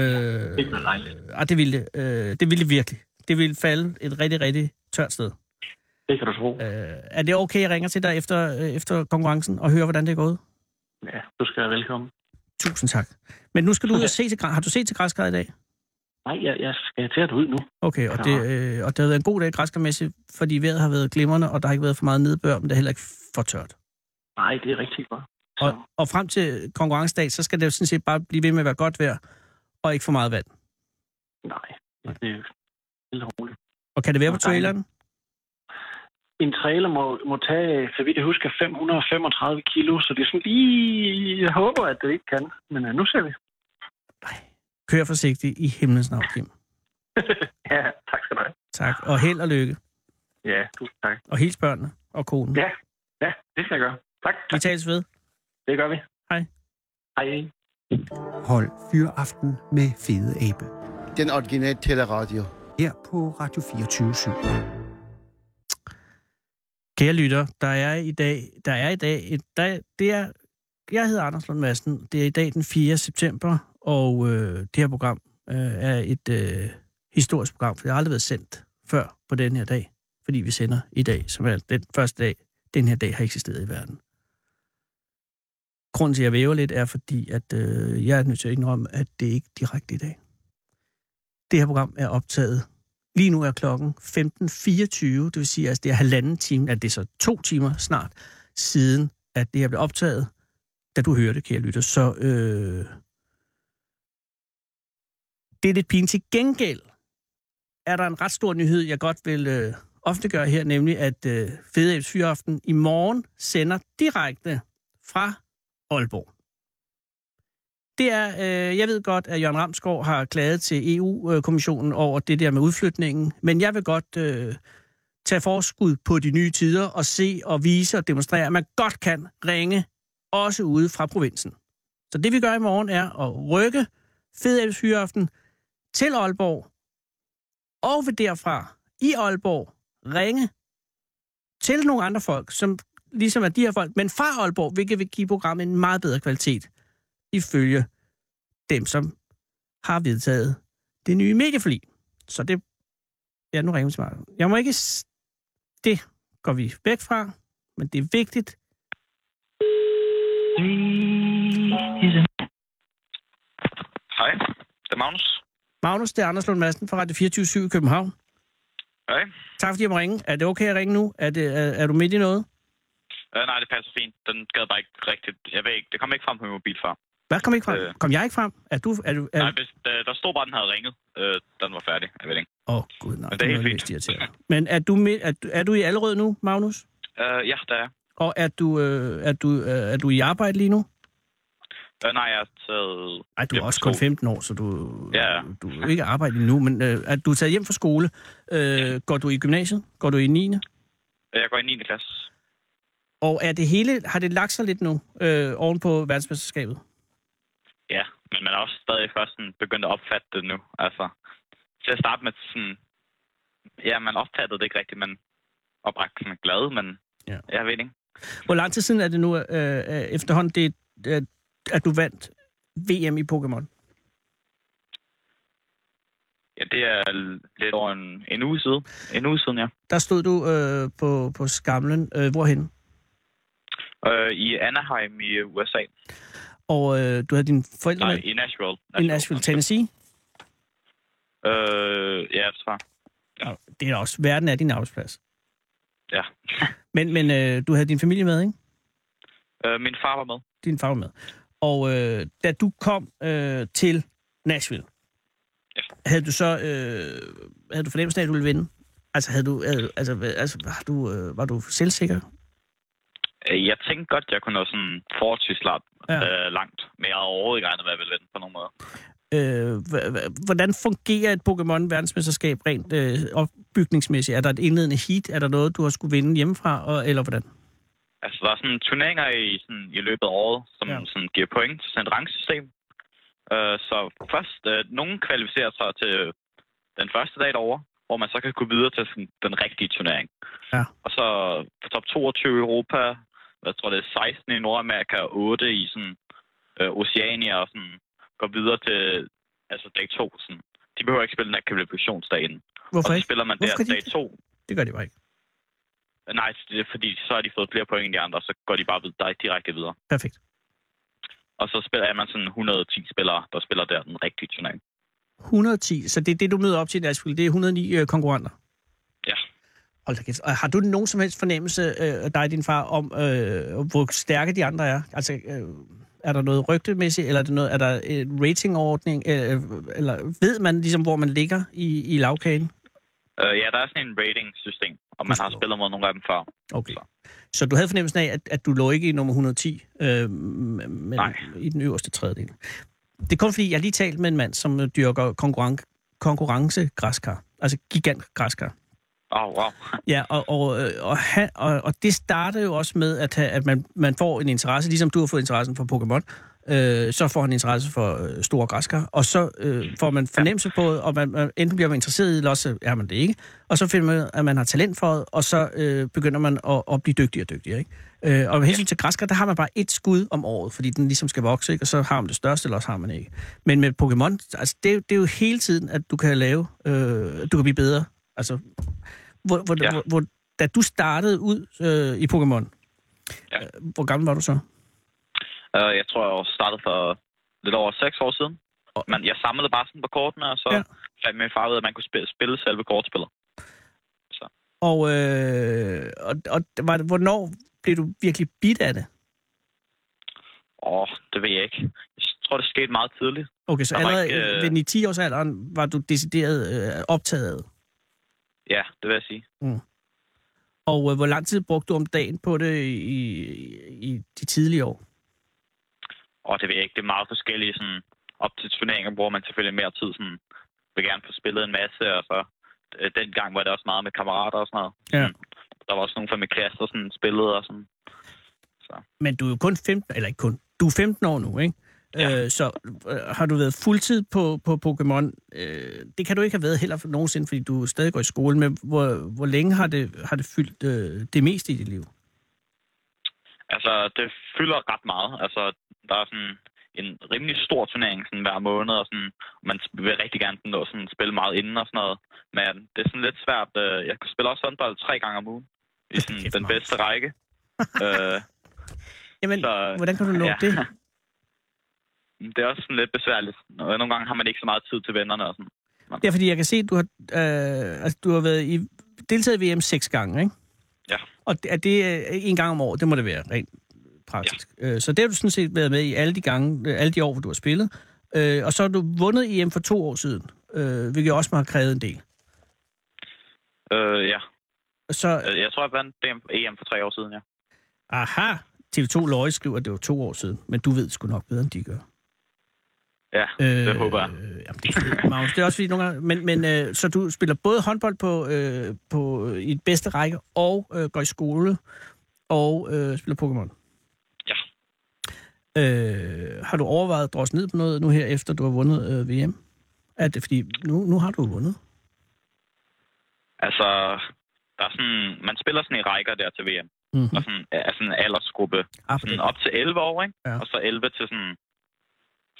S4: Det er dejligt.
S5: ah, det ville det. Øh, det ville det virkelig. Det ville falde et rigtig, rigtig tørt sted.
S4: Det kan du tro.
S5: Øh, er det okay, jeg ringer til dig efter, øh, efter konkurrencen og hører, hvordan det er gået?
S4: Ja, du skal være velkommen.
S5: Tusind tak. Men nu skal du ud og se til græ- Har du set til græskar i dag?
S4: Nej, jeg, jeg skal til at ud nu.
S5: Okay, og det, øh, og det har været en god dag græskarmæssigt, fordi vejret har været glimrende, og der har ikke været for meget nedbør, men det er heller ikke for tørt.
S4: Nej, det er rigtig godt. Så,
S5: Og, og frem til konkurrencedag, så skal det jo sådan set bare blive ved med at være godt vejr, og ikke for meget vand.
S4: nej, det er jo helt roligt.
S5: Og kan det være på
S4: Og dejligt.
S5: traileren?
S4: En trailer må, må tage, så vidt jeg husker, 535 kilo, så det er sådan lige... Jeg håber, at det ikke kan, men øh, nu ser vi.
S5: Kør forsigtigt i himlens navn, Kim.
S4: Ja, tak skal du have.
S5: Tak, og held og lykke.
S4: Ja, tusind tak.
S5: Og hils børnene og konen.
S4: Ja, ja, det skal jeg gøre. Tak,
S5: Vi
S4: tak.
S5: tales ved.
S4: det gør vi.
S5: Hej.
S4: Hej.
S3: Hold fyraften med Fede Abe.
S6: den originale teleradio.
S3: Her på Radio 24 7.
S5: Kære lytter, der er i dag, der er i dag, et, der, det er, jeg hedder Anders Lund Madsen, det er i dag den 4. september, og øh, det her program øh, er et øh, historisk program, for det har aldrig været sendt før på den her dag, fordi vi sender i dag, som er den første dag, den her dag har eksisteret i verden. Grunden til, at jeg væver lidt, er fordi, at øh, jeg er nødt til at indrømme, at det er ikke direkte i dag. Det her program er optaget Lige nu er klokken 15.24, det vil sige, at det er halvanden time, at det er så to timer snart, siden at det her blev optaget, da du hørte, kære lytter. Så øh, det er lidt pinligt. Til gengæld er der en ret stor nyhed, jeg godt vil øh, offentliggøre her, nemlig at øh, Fede Abes Fyraften i morgen sender direkte fra Aalborg. Det er, øh, jeg ved godt, at Jørgen Ramskov har klaget til EU-kommissionen over det der med udflytningen, men jeg vil godt øh, tage forskud på de nye tider og se og vise og demonstrere, at man godt kan ringe, også ude fra provinsen. Så det vi gør i morgen er at rykke Fedabes Hyreaften til Aalborg, og vil derfra i Aalborg ringe til nogle andre folk, som ligesom er de her folk, men fra Aalborg, hvilket vil give programmet en meget bedre kvalitet ifølge dem, som har vedtaget det nye medieforlig. Så det... Ja, nu ringer vi til Martin. Jeg må ikke... s- Det går vi væk fra, men det er vigtigt.
S7: Hej, det er Magnus.
S5: Magnus, det er Anders Lund Madsen fra Radio 24 i København.
S7: Hej.
S5: Tak fordi jeg må ringe. Er det okay at ringe nu? Er, det, er, er du midt i noget?
S7: Øh, nej, det passer fint. Den gad bare ikke rigtigt. Jeg ved ikke, det kom ikke frem på min mobil før.
S5: Hvad kom ikke frem?
S7: Øh.
S5: Kom jeg ikke frem? Er du... Er du er...
S7: Nej, hvis, der, der stod bare, den havde ringet. Øh, den var færdig, jeg ved ikke.
S5: Åh, oh, gud, nej.
S7: Men det er
S5: nu
S7: helt
S5: jeg
S7: fint.
S5: mest irriteret. Men er du, med, er, du- er du i Allerød nu, Magnus?
S7: Øh, ja, der er. jeg.
S5: Og er du, øh, er, du, øh, er du i arbejde lige nu?
S7: Øh, nej, jeg har taget...
S5: Nej, du er
S7: Hjem fra
S5: også kun
S7: skole.
S5: 15 år, så du,
S7: Ja.
S5: du er jo ikke arbejde endnu, men øh, er du er taget hjem fra skole. Øh, går du i gymnasiet? Går du i 9.
S7: øh, Jeg går i 9. klasse.
S5: Og er det hele, har det lagt sig lidt nu øh, oven på verdensmesterskabet?
S7: Ja, men man er også stadig først sådan begyndt at opfatte det nu. Altså, til at starte med sådan... Ja, man opfattede det ikke rigtigt, men og bragte sådan glad, men
S5: Ja.
S7: ja. jeg ved ikke.
S5: Hvor lang tid siden er det nu øh, øh, efterhånden, det, øh, at du vandt VM i Pokémon?
S7: Ja, det er l- lidt over en, en uge siden. En uge siden, ja.
S5: Der stod du øh, på, på skamlen. Øh, hvorhen?
S7: Øh, I Anaheim i øh, USA.
S5: Og øh, du havde dine forældre
S7: Nej,
S5: med
S7: i Nashville.
S5: i Nashville, Tennessee.
S7: Øh, ja, så.
S5: Og Det er også, verden er din arbejdsplads.
S7: Ja.
S5: Men, men øh, du havde din familie med, ikke?
S7: Øh, min far var med.
S5: Din far var med. Og øh, da du kom øh, til Nashville,
S7: Ja.
S5: havde du så øh, havde du fornemmelsen af, at du ville vinde? Altså, havde du, havde, altså, hvad- altså var, du, øh, var du selvsikker?
S7: Øh, Jeg tænkte godt, jeg kunne nå sådan forholdsvis langt,
S5: Ja.
S7: ja. øh, langt, men jeg havde overhovedet ikke regnet, hvad jeg ville vinde på nogen måde.
S5: Øh, hva- hva- hvordan fungerer et Pokémon-verdensmesterskab rent øh, opbygningsmæssigt? Er der et indledende heat? Er der noget, du har skulle vinde hjemmefra, og, eller hvordan?
S7: Altså, der er sådan turneringer i, sådan, i løbet af året, som
S5: Ja.
S7: ja. sådan, giver point til sådan et rangsystem. Øh, så først, øh, nogen kvalificerer sig til den første dag derovre, hvor man så kan gå videre til sådan, den rigtige turnering.
S5: Ja.
S7: Og så top 22 i Europa, jeg tror det er 16 i Nordamerika, 8 i sådan, øh, Oceania, og sådan, går videre til altså dag 2. Sådan. De behøver ikke spille den her kvalifikationsdagen. Og
S5: Hvorfor
S7: så
S5: ikke?
S7: spiller man
S5: Hvorfor
S7: der
S5: kan de
S7: dag
S5: ikke?
S7: 2.
S5: Det gør de bare ikke.
S7: Nej, det er fordi så har de fået flere point end de andre, og så går de bare vid- dig- direkte videre.
S5: Perfekt.
S7: Og så spiller er man sådan 110 spillere, der spiller der den rigtige turnering.
S5: 110, så det er det, du møder op til i Nashville. Det er 109 øh, konkurrenter.
S7: Ja.
S5: Hold da kæft. Og har du nogen som helst fornemmelse, øh, dig og din far, om øh, hvor stærke de andre er? Altså, øh, er der noget rygtemæssigt, eller er, det noget, er der en ratingordning? Øh, eller ved man ligesom, hvor man ligger i, i lavkagen?
S7: Øh, ja, der er sådan en rating-system, og man har
S5: Forstår.
S7: spillet mod nogle af dem før.
S5: Okay. Så du havde fornemmelsen af, at, at du lå ikke i nummer 110, øh, men
S7: Nej.
S5: i den øverste tredjedel. Det er kun fordi, jeg har lige talt med en mand, som øh, dyrker konkurren- konkurrencegræskar. Altså gigantgræskar.
S7: Åh, oh, wow.
S5: Ja, og, og, øh, og, han, og, og det starter jo også med, at, ha- at man, man får en interesse, ligesom du har fået interessen for Pokémon, øh, så får han interesse for øh, store græskar, og så øh, får man fornemmelse på, det, og man, man, enten bliver man interesseret i det, eller så er man det ikke, og så finder man, ud af, at man har talent for det, og så øh, begynder man at, at blive dygtigere og dygtigere. Ikke? Øh, og med hensyn til græskar, der har man bare et skud om året, fordi den ligesom skal vokse, ikke? og så har man det største, eller også har man ikke. Men med Pokémon, altså, det, er jo- det er jo hele tiden, at du kan lave, øh, du kan blive bedre. Altså, hvor, hvor, ja.
S7: Ja.
S5: hvor, hvor, da du startede ud øh, i Pokémon,
S7: Ja.
S5: øh, hvor gammel var du så?
S7: Øh, jeg tror, jeg startede for lidt over 6 år siden. Men jeg samlede bare sådan på kortene, og så
S5: Ja.
S7: ja. fandt min far ud af, at man kunne spille, spille selve kortspillet.
S5: Og, øh, og, og var, det- hvornår blev du virkelig bidt af det?
S7: Åh, oh, det ved jeg ikke. Jeg tror, det skete meget tidligt.
S5: Okay, så
S7: Der var
S5: allerede
S7: ikke,
S5: øh...
S7: øh,
S5: ved den i 10-årsalderen var du decideret øh, optaget af det.
S7: Ja, det vil jeg sige.
S5: Og øh, hvor lang tid brugte du om dagen på det i, i de tidlige år?
S7: Og det ved jeg ikke, det er meget forskellige sådan, op til turneringer, hvor man selvfølgelig mere tid sådan, vil gerne få spillet en masse, og så øh, dengang var det også meget med kammerater og sådan noget.
S5: Ja.
S7: Der var også nogle fra min klasse, der sådan, spillede og sådan.
S5: Men du er jo kun 15, eller ikke kun, du er 15 år nu, ikke?
S7: Ja.
S5: Øh, så øh, har du været fuldtid på, på Pokémon? Øh, det kan du ikke have været heller for nogensinde, fordi du stadig går i skole, men hvor, hvor længe har det, har det fyldt øh, det meste i dit liv?
S7: Altså, det fylder ret meget. Altså, der er sådan en rimelig stor turnering sådan, hver måned, og sådan, man vil rigtig gerne sådan, nå at sådan, spille meget inden og sådan noget. Men det er sådan lidt svært. øh, Jeg spiller også håndbold tre gange om ugen i sådan,
S5: Kæft,
S7: den
S5: Magnus.
S7: bedste række. øh,
S5: Jamen, så,
S7: Så-
S5: hvordan kan du nå ja.
S7: ja.
S5: det?
S7: det er også sådan lidt besværligt. Og Nogle gange har man ikke så meget tid til vennerne og sådan.
S5: Det er, fordi jeg kan se, at du har, øh, altså, du har været i, deltaget i VM seks gange, ikke?
S7: Ja.
S5: Og det- er det øh, en gang om året? Det må det være, rent praktisk. Ja. Så det har du sådan set været med i alle de gange, øh, alle de år, hvor du har spillet. Øh, Og så har du vundet EM for to år siden, øh, hvilket også må have krævet en del.
S7: Øh, ja.
S5: Så,
S7: Øh, Jeg tror, jeg vandt DM- EM for tre år siden, ja.
S5: aha, TV2 Løje skriver, at det var to år siden, men du ved sgu nok bedre, end de gør.
S7: Ja, øh, det håber jeg.
S5: Øh, jamen, det, er fedt, Magnus, det er også fordi nogle gange... Men, men øh, så du spiller både håndbold på, øh, på, øh, i den bedste række, og øh, går i skole, og øh, spiller Pokémon?
S7: Ja.
S5: Øh, har du overvejet at drosle ned på noget nu her, efter du har vundet øh, VM? Er det fordi, nu, nu har du jo vundet.
S7: Altså, der er sådan, man spiller sådan i rækker der til VM.
S5: Mm-hmm.
S7: Og sådan, er sådan en aldersgruppe
S5: Ah, på den.
S7: sådan op til 11 år, ikke?
S5: Ja.
S7: Ja. Og så 11 til sådan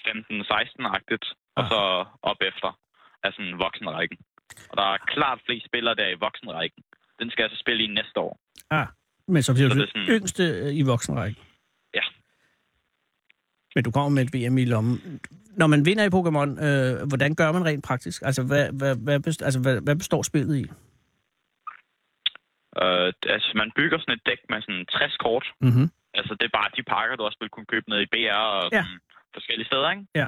S7: 15-16-agtigt, og
S5: Ah.
S7: så op efter af sådan voksenrækken. Og der er klart flest spillere der i voksenrækken. Den skal jeg så spille i næste år.
S5: Men så bliver
S7: så
S5: du
S7: det er
S5: den
S7: sådan-
S5: yngste øh, i voksenrækken.
S7: Ja.
S5: Men du kommer med et VM i lommen. Når man vinder i Pokémon, øh, hvordan gør man rent praktisk? Altså, hvad, hvad, hvad, består, altså, hvad, hvad består spillet i?
S7: Uh, altså, man bygger sådan et dæk med sådan 60 kort.
S5: Mm-hmm.
S7: Altså, det er bare de pakker, du også vil kunne købe nede i BR og
S5: Ja.
S7: ja. sådan, forskellige steder, ikke?
S5: Ja.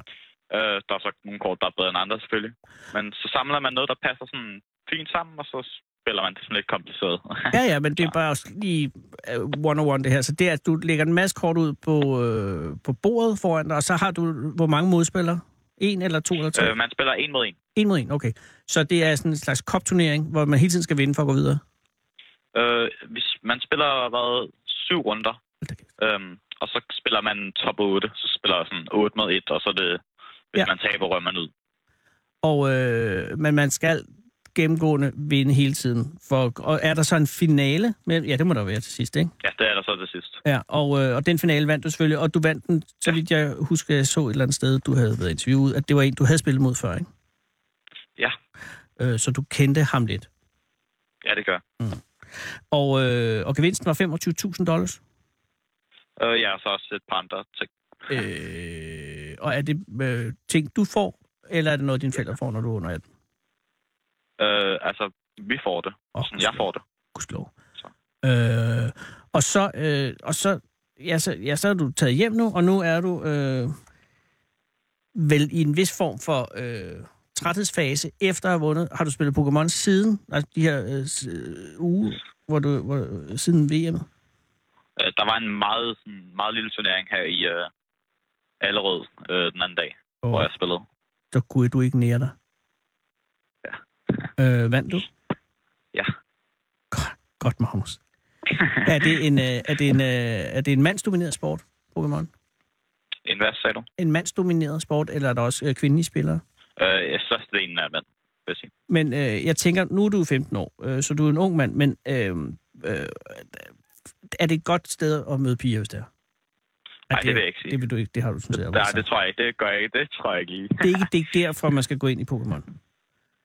S7: Uh, der er så nogle kort, der er bedre end andre, selvfølgelig. Men så samler man noget, der passer sådan fint sammen, og så spiller man det sådan lidt kompliceret.
S5: Ja, ja, men det er bare også lige øh, one-on-one det her. Så det er, at du lægger en masse kort ud på, øh, på bordet foran dig, og så har du, hvor mange modspillere? En eller to eller tre?
S7: uh, man spiller en mod en.
S5: En mod en, okay. Så det er sådan en slags kopturnering, hvor man hele tiden skal vinde for at gå videre?
S7: Øh, hvis man spiller hvad, syv runder,
S5: Hold da kæft.
S7: øhm, og så spiller man top 8, så spiller sådan 8 mod 1, og så er det, hvis
S5: Ja.
S7: ja. man taber, rører man ud.
S5: Og, øh, men man skal gennemgående vinde hele tiden. For, og er der så en finale? Med, ja, det må der være til sidst, ikke?
S7: Ja, det er der så til sidst.
S5: Ja, og, øh, og den finale vandt du selvfølgelig, og du vandt den, så vidt jeg husker, jeg så et eller andet sted, du havde været interviewet, at det var en, du havde spillet mod før, ikke?
S7: Ja.
S5: Øh, så du kendte ham lidt.
S7: Ja, det gør.
S5: Og, øh, og gevinsten var 25.000 dollars.
S7: Øh, ja, og så også et par andre ting.
S5: Øh, og er det øh, ting, du får, eller er det noget, dine forældre får, når du er under 18?
S7: Øh, altså, vi får det.
S5: Åh,
S7: Sådan, jeg får det.
S5: gudskelov.
S7: Så.
S5: Øh, og så, øh, og så, ja, så, ja, så er du taget hjem nu, og nu er du øh, vel i en vis form for øh, træthedsfase efter at have vundet. Har du spillet Pokémon siden, altså de her øh, s- øh, uge, hvor du, hvor, siden VM?
S7: Øh, der var en meget, sådan, meget lille turnering her i øh, Allerød øh, den anden dag, oh. hvor
S5: Og
S7: jeg spillede.
S5: så kunne du ikke nære dig. Ja. Øh, vandt du?
S7: Ja.
S5: Godt, godt Magnus. er, det en, øh, er, det en, øh, er det en mandsdomineret sport, Pokémon?
S7: En hvad sagde du?
S5: en mandsdomineret sport, eller er der også øh, kvindelige spillere?
S7: Øh, størstedelen af mænd, vil jeg sige.
S5: Men øh, jeg tænker, nu er du 15 år, øh, så du er en ung mand, men øh, øh, er det et godt sted at møde piger, hvis det er?
S7: Ej, det vil jeg ikke sige.
S5: Det, vil du ikke, det har du sådan set
S7: Ja,
S5: allerede
S7: det
S5: sagt.
S7: tror jeg ikke. Det gør jeg ikke. Det tror jeg ikke lige.
S5: det, er ikke, det er ikke derfra, man skal gå ind i Pokémon.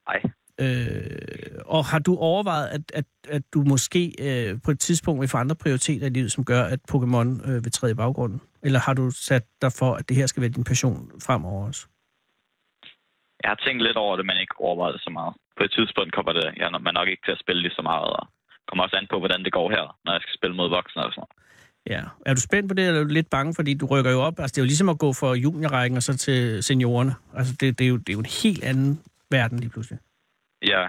S7: Nej.
S5: Øh, og har du overvejet, at, at, at du måske øh, på et tidspunkt vil få andre prioriteter i livet, som gør, at Pokémon øh, vil træde i baggrunden? Eller har du sat dig for, at det her skal være din passion fremover også?
S7: Jeg har tænkt lidt over det, men ikke overvejet det så meget. På et tidspunkt kommer det, jeg er nok ikke til at spille lige så meget, og kommer også an på, hvordan det går her, når jeg skal spille mod voksne og sådan noget.
S5: Ja. Er du spændt på det, eller er du lidt bange, fordi du rykker jo op? Altså, det er jo ligesom at gå fra juniorrækken og så til seniorerne. Altså, det, det, er, jo, det er jo en helt anden verden lige pludselig.
S7: Ja,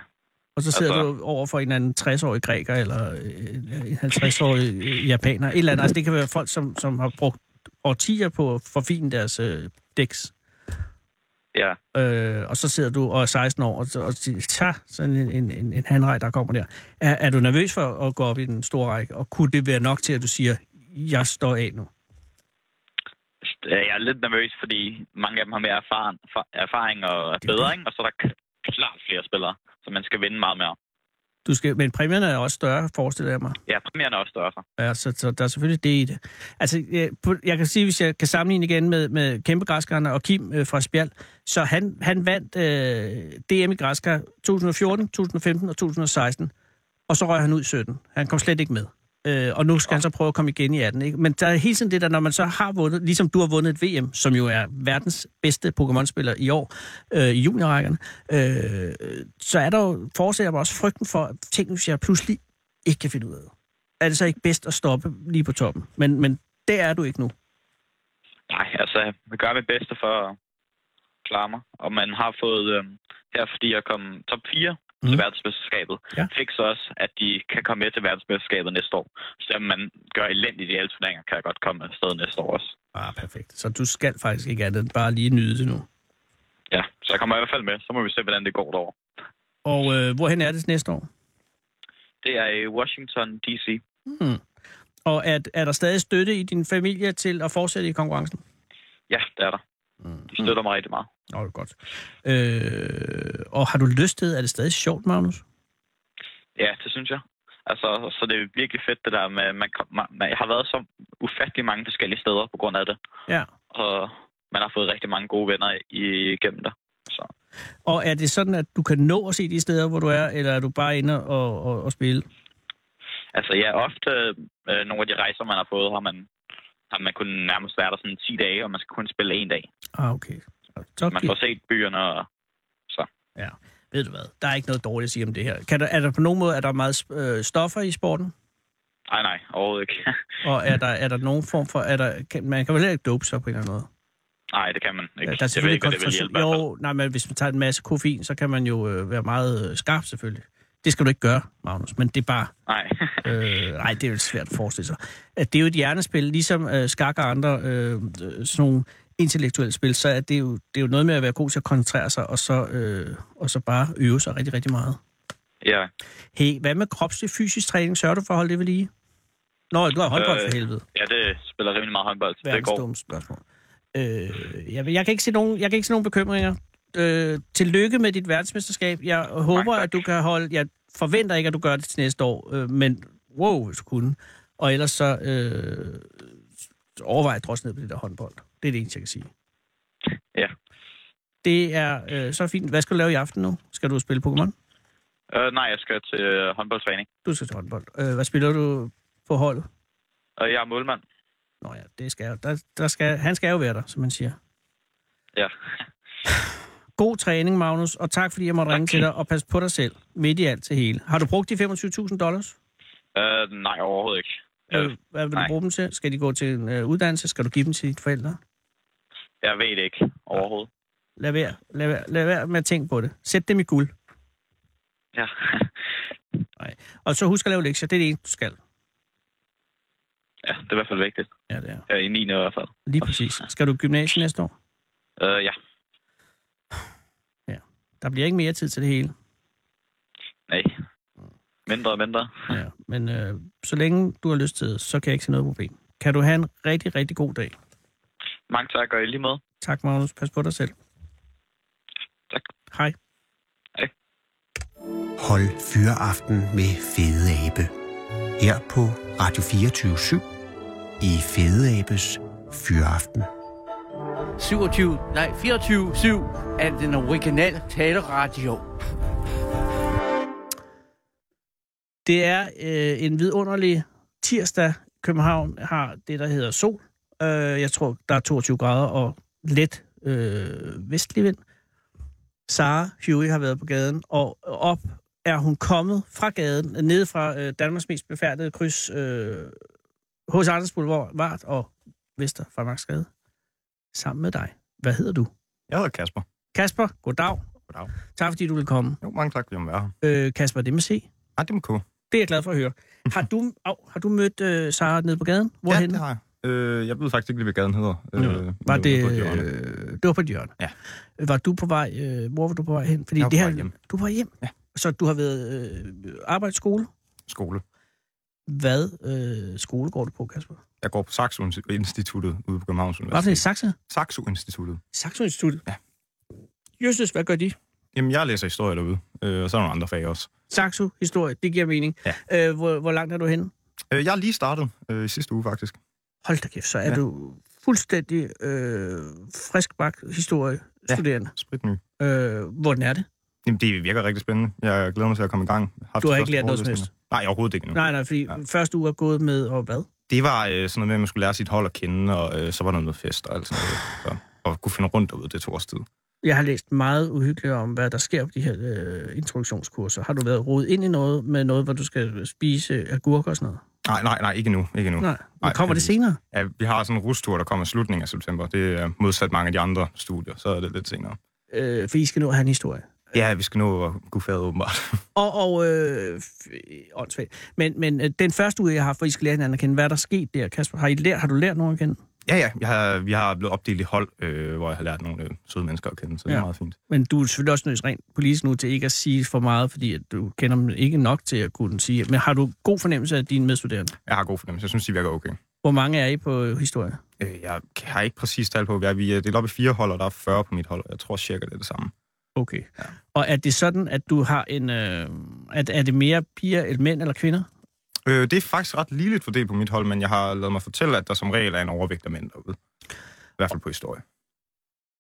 S5: Og så sidder
S7: Altså-
S5: altså... du over for en eller anden 60-årig græker, eller øh, en 50-årig øh, japaner, et eller andet. Altså, det kan være folk, som, som har brugt årtier på at forfine deres øh, dæks.
S7: ja,
S5: Øh, og så sidder du og er 16 år, og, så- og siger, tja, sådan en, en, en, en handrej, der kommer der. Er, er du nervøs for at gå op i den store række, og kunne det være nok til, at du siger, jeg står af nu?
S7: jeg er lidt nervøs, fordi mange af dem har mere erfaring, erfaring og er
S5: Det er
S7: bedre,
S5: det.
S7: ikke? og så er der k- klart flere spillere, så man skal vinde meget mere.
S5: Du skal, men præmierne er også større, forestiller jeg mig.
S7: Ja, premieren er også større. så.
S5: Ja, så, så der er selvfølgelig det i det. Altså, jeg, på, jeg kan sige, hvis jeg kan sammenligne igen med, med Kæmpe Græskerne og Kim øh, fra Spjald, så han, han vandt øh, DM i Græskar 2014, 2015 og 2016, og så røg han ud i 17. Han kom slet ikke med. Øh, og nu skal han så prøve at komme igen i 18. Ikke? Men der er hele tiden det der, når man så har vundet, ligesom du har vundet et VM, som jo er verdens bedste Pokémon-spiller i år, øh, i juniorrækkerne, øh, så er der jo, forårsager mig også frygten for, at altså ting, hvis jeg pludselig ikke kan finde ud af det er det så ikke bedst at stoppe lige på toppen? Men, men det er du ikke nu.
S7: Nej, altså, jeg gør mit bedste for at klare mig. Og man har fået, øh, her fordi jeg kom top 4 mm. til
S5: Mm.
S7: verdensmesterskabet,
S5: Ja.
S7: ja. fik så også, at de kan komme med til verdensmesterskabet næste år. Så om man gør elendigt i alle turneringer, kan jeg godt komme afsted næste år også.
S5: Ah, perfekt. Så du skal faktisk ikke andet end bare lige nyde det nu.
S7: Ja, så jeg kommer i hvert fald med. Så må vi se, hvordan det går derovre.
S5: Og øh, hvorhen er det næste år?
S7: Det er i Washington D.C.
S5: Og er, er der stadig støtte i din familie til at fortsætte i konkurrencen?
S7: Ja, det er der. De støtter mig rigtig meget.
S5: Nå, det er godt. Øh, og har du lyst til, er det stadig sjovt, Magnus?
S7: Ja, det synes jeg. Altså, så det er virkelig fedt det der med, man, kom- man, man jeg har været så ufattelig mange forskellige steder på grund af det.
S5: Ja.
S7: Og man har fået rigtig mange gode venner i- igennem det. Så
S5: Og er det sådan, at du kan nå at se de steder, hvor du er, eller er du bare inde og, og, og spille?
S7: Altså ja, ofte øh, nogle af de rejser, man har fået, har man, har man kun nærmest været der sådan 10 dage, og man skal kun spille en dag.
S5: Ah, okay. Så
S7: Okay. Man får set byerne, og
S5: Ja. Ved du hvad, der er ikke noget dårligt at sige om det her. Kan der, er der på nogen måde er der meget øh, stoffer i sporten?
S7: nej, nej, overhovedet ikke.
S5: Og er der, er der nogen form for... Er der, kan, man kan vel heller ikke dope sig på en eller anden måde?
S7: nej, det kan man
S5: Ja, der
S7: ikke.
S5: er
S7: Jeg ved
S5: selvfølgelig
S7: ikke, hvad det vil hjælpe.
S5: koncentration.
S7: i hvert fald.
S5: Jo, nej, men hvis man tager en masse koffein, så kan man jo øh, være meget øh, skarp selvfølgelig. Det skal du ikke gøre, Magnus, men det er bare...
S7: Nej,
S5: Øh, nej, det er jo svært at forestille sig. At det er jo et hjernespil, ligesom øh, skak og andre øh, øh, sådan nogle intellektuelle spil, så er det, jo, det er jo noget med at være god til at koncentrere sig, og så, øh, og så bare øve sig rigtig, rigtig meget.
S7: ja.
S5: Hey, hvad med kropslig fysisk træning? Sørger du for at holde det ved lige? Nå, du har håndbold for
S7: Øh,
S5: helvede.
S7: ja, det spiller rimelig meget håndbold, så det
S5: Verdens
S7: går.
S5: dumme spørgsmål. Øh, jeg, jeg, kan ikke se nogen, jeg kan ikke se nogen bekymringer. Øh, tillykke med dit verdensmesterskab. Jeg håber,
S7: tak.
S5: at du kan holde... Jeg forventer ikke, at du gør det til næste år, øh, men wow, hvis du kunne. Og ellers så øh, overvej at drosse ned på det der håndbold. Det er det eneste, jeg kan sige.
S7: Ja.
S5: Det er øh, så fint. Hvad skal du lave i aften nu? Skal du spille Pokémon?
S7: Øh, nej, jeg skal til øh, håndboldtræning,
S5: Du skal til håndbold. Øh, hvad spiller du på holdet?
S7: og jeg er målmand.
S5: Nå ja, det skal jeg. jo. Der, der skal, han skal jo være der, som man siger.
S7: Ja,
S5: God træning, Magnus, og tak fordi jeg måtte
S7: Tak.
S5: ringe til dig, og pas på dig selv, midt i alt til hele. Har du brugt de 25.000 dollars?
S7: øh, nej, overhovedet ikke.
S5: Øh,
S7: Øh,
S5: Hvad vil du
S7: nej.
S5: bruge dem til? Skal de gå til en øh, uddannelse? Skal du give dem til dine forældre?
S7: jeg ved det ikke overhovedet.
S5: Lad være, lad være, lad være med at tænke på det. Sæt dem i guld.
S7: Ja,
S5: Og så husk at lave lektier. Det er det eneste, du skal.
S7: ja det er i hvert fald vigtigt.
S5: Ja, det er.
S7: Ja, I 9. i hvert fald.
S5: Lige præcis. Skal du i gymnasiet næste år?
S7: Øh, ja,
S5: Der bliver ikke mere tid til det hele.
S7: nej. Mindre og mindre.
S5: Ja, men øh, så længe du har lyst til det, så kan jeg ikke se noget problem. Kan du have en rigtig, rigtig god dag.
S7: Mange tak, og i lige måde.
S5: Tak, Magnus. Pas på dig selv.
S7: Tak.
S5: Hej.
S3: Hold fyreaften med Fede Abe. Her på Radio 24 i Fede Abes Fyreaften.
S8: 27, nej 24-7 af den originale taleradio.
S5: Det er øh, en vidunderlig tirsdag. København har det, der hedder sol. Øh, jeg tror, der er 22 grader og let øh, vestlig vind. Sara Huey har været på gaden, og op er hun kommet fra gaden, nede fra øh, Danmarks mest befærdede kryds, øh, hos Anders Boulevard, Vart og Vester Farmarksgade, sammen med dig. Hvad hedder du?
S9: Jeg hedder Kasper.
S5: Kasper, goddag.
S9: Goddag.
S5: Tak fordi du vil komme.
S9: Jo, mange tak, fordi jeg må være her.
S5: Øh, Kasper, det med C.
S9: Nej, det må kunne.
S5: Det er jeg glad for at høre. Har du, au, har du mødt øh, Sara nede på gaden?
S9: Ja,
S5: Hvorhen?
S9: det har jeg. Øh, jeg ved faktisk ikke, lige, hvad gaden hedder.
S5: Nå, var
S9: Øh, det
S5: det,
S9: var på et hjørne.
S5: øh, det var på et hjørne.
S9: Ja.
S5: Øh, Var du på vej, øh, hvor var du på vej hen? Fordi
S9: Jeg var
S5: det her,
S9: på vej hjem.
S5: Du var hjem?
S9: Ja.
S5: Så du har været øh, arbejdsskole?
S9: Skole.
S5: Hvad øh, skole går du på, Kasper?
S9: Jeg går på Saxo Instituttet ude på Københavns
S5: Hvad for en
S9: Universitet.
S5: Saxe?
S9: Saxo Instituttet.
S5: Saxo Institut?
S9: Ja.
S5: Justus, hvad gør de?
S9: Jamen, jeg læser historie derude, øh, og så er der nogle andre fag også.
S5: Saxo, historie, det giver mening.
S9: Ja.
S5: Øh, hvor, hvor langt er du henne?
S9: Øh, jeg er lige startet øh, i sidste uge, faktisk.
S5: Hold da kæft, så er
S9: Ja.
S5: du fuldstændig øh, friskbagt historiestuderende.
S9: Spritny.
S5: Ja. Øh, hvordan er det?
S9: Jamen, det virker rigtig spændende. Jeg glæder mig til at komme i gang. Haft
S5: Du har
S9: de
S5: ikke
S9: første
S5: lært noget som
S9: forelæsninger. Nej, overhovedet ikke endnu.
S5: Nej, nej, fordi ja.
S9: Ja.
S5: første uge er gået med, og hvad?
S9: Det var øh, sådan noget med, at man skulle lære sit hold at kende, og øh, så var der noget fest og alt sådan noget. Så, og kunne finde rundt derude, det tog også tid.
S5: Jeg har læst meget uhyggeligt om, hvad der sker på de her øh, introduktionskurser. Har du været rodet ind i noget med noget, hvor du skal spise agurker og sådan noget?
S9: Nej, nej, nej, ikke nu. Ikke nu.
S5: Nej,
S9: Nej,
S5: men kommer det
S9: heldigvis.
S5: senere?
S9: Ja, vi har sådan en rustur, der kommer i slutningen af september. Det er modsat mange af de andre studier, så er det lidt senere.
S5: Øh, for I skal nå at have en historie.
S9: Ja, vi skal nå at kunne fade åbenbart.
S5: Og, og øh, f- åndssvagt. Men, men øh, den første uge, jeg har, for I skal lære hinanden at kende, hvad er der sket der, Kasper? Har, I lært, har du lært nogen at kende?
S9: Ja, ja, jeg har, vi har blevet opdelt i hold, øh, hvor jeg har lært nogle øh, søde mennesker at kende, så det er
S5: Ja.
S9: meget fint.
S5: Men du er selvfølgelig også nødt rent politisk nu til ikke at sige for meget, fordi at du kender dem ikke nok til at kunne sige. Men har du god fornemmelse af dine medstuderende?
S9: Jeg har god fornemmelse. Jeg synes, de virker okay.
S5: Hvor mange er I på øh, historie?
S9: Øh, jeg har ikke præcis tal på, hvad vi er. delt op i fire hold, og der er 40 på mit hold, og jeg tror cirka, det er det samme.
S5: Okay. Ja. Og er det sådan, at du har en... Øh, at, er det mere piger, eller mænd eller kvinder?
S9: Øh, det er faktisk ret ligeligt fordelt på mit hold, men jeg har lavet mig fortælle, at der som regel er en overvægt af mænd derude. I hvert fald på historie.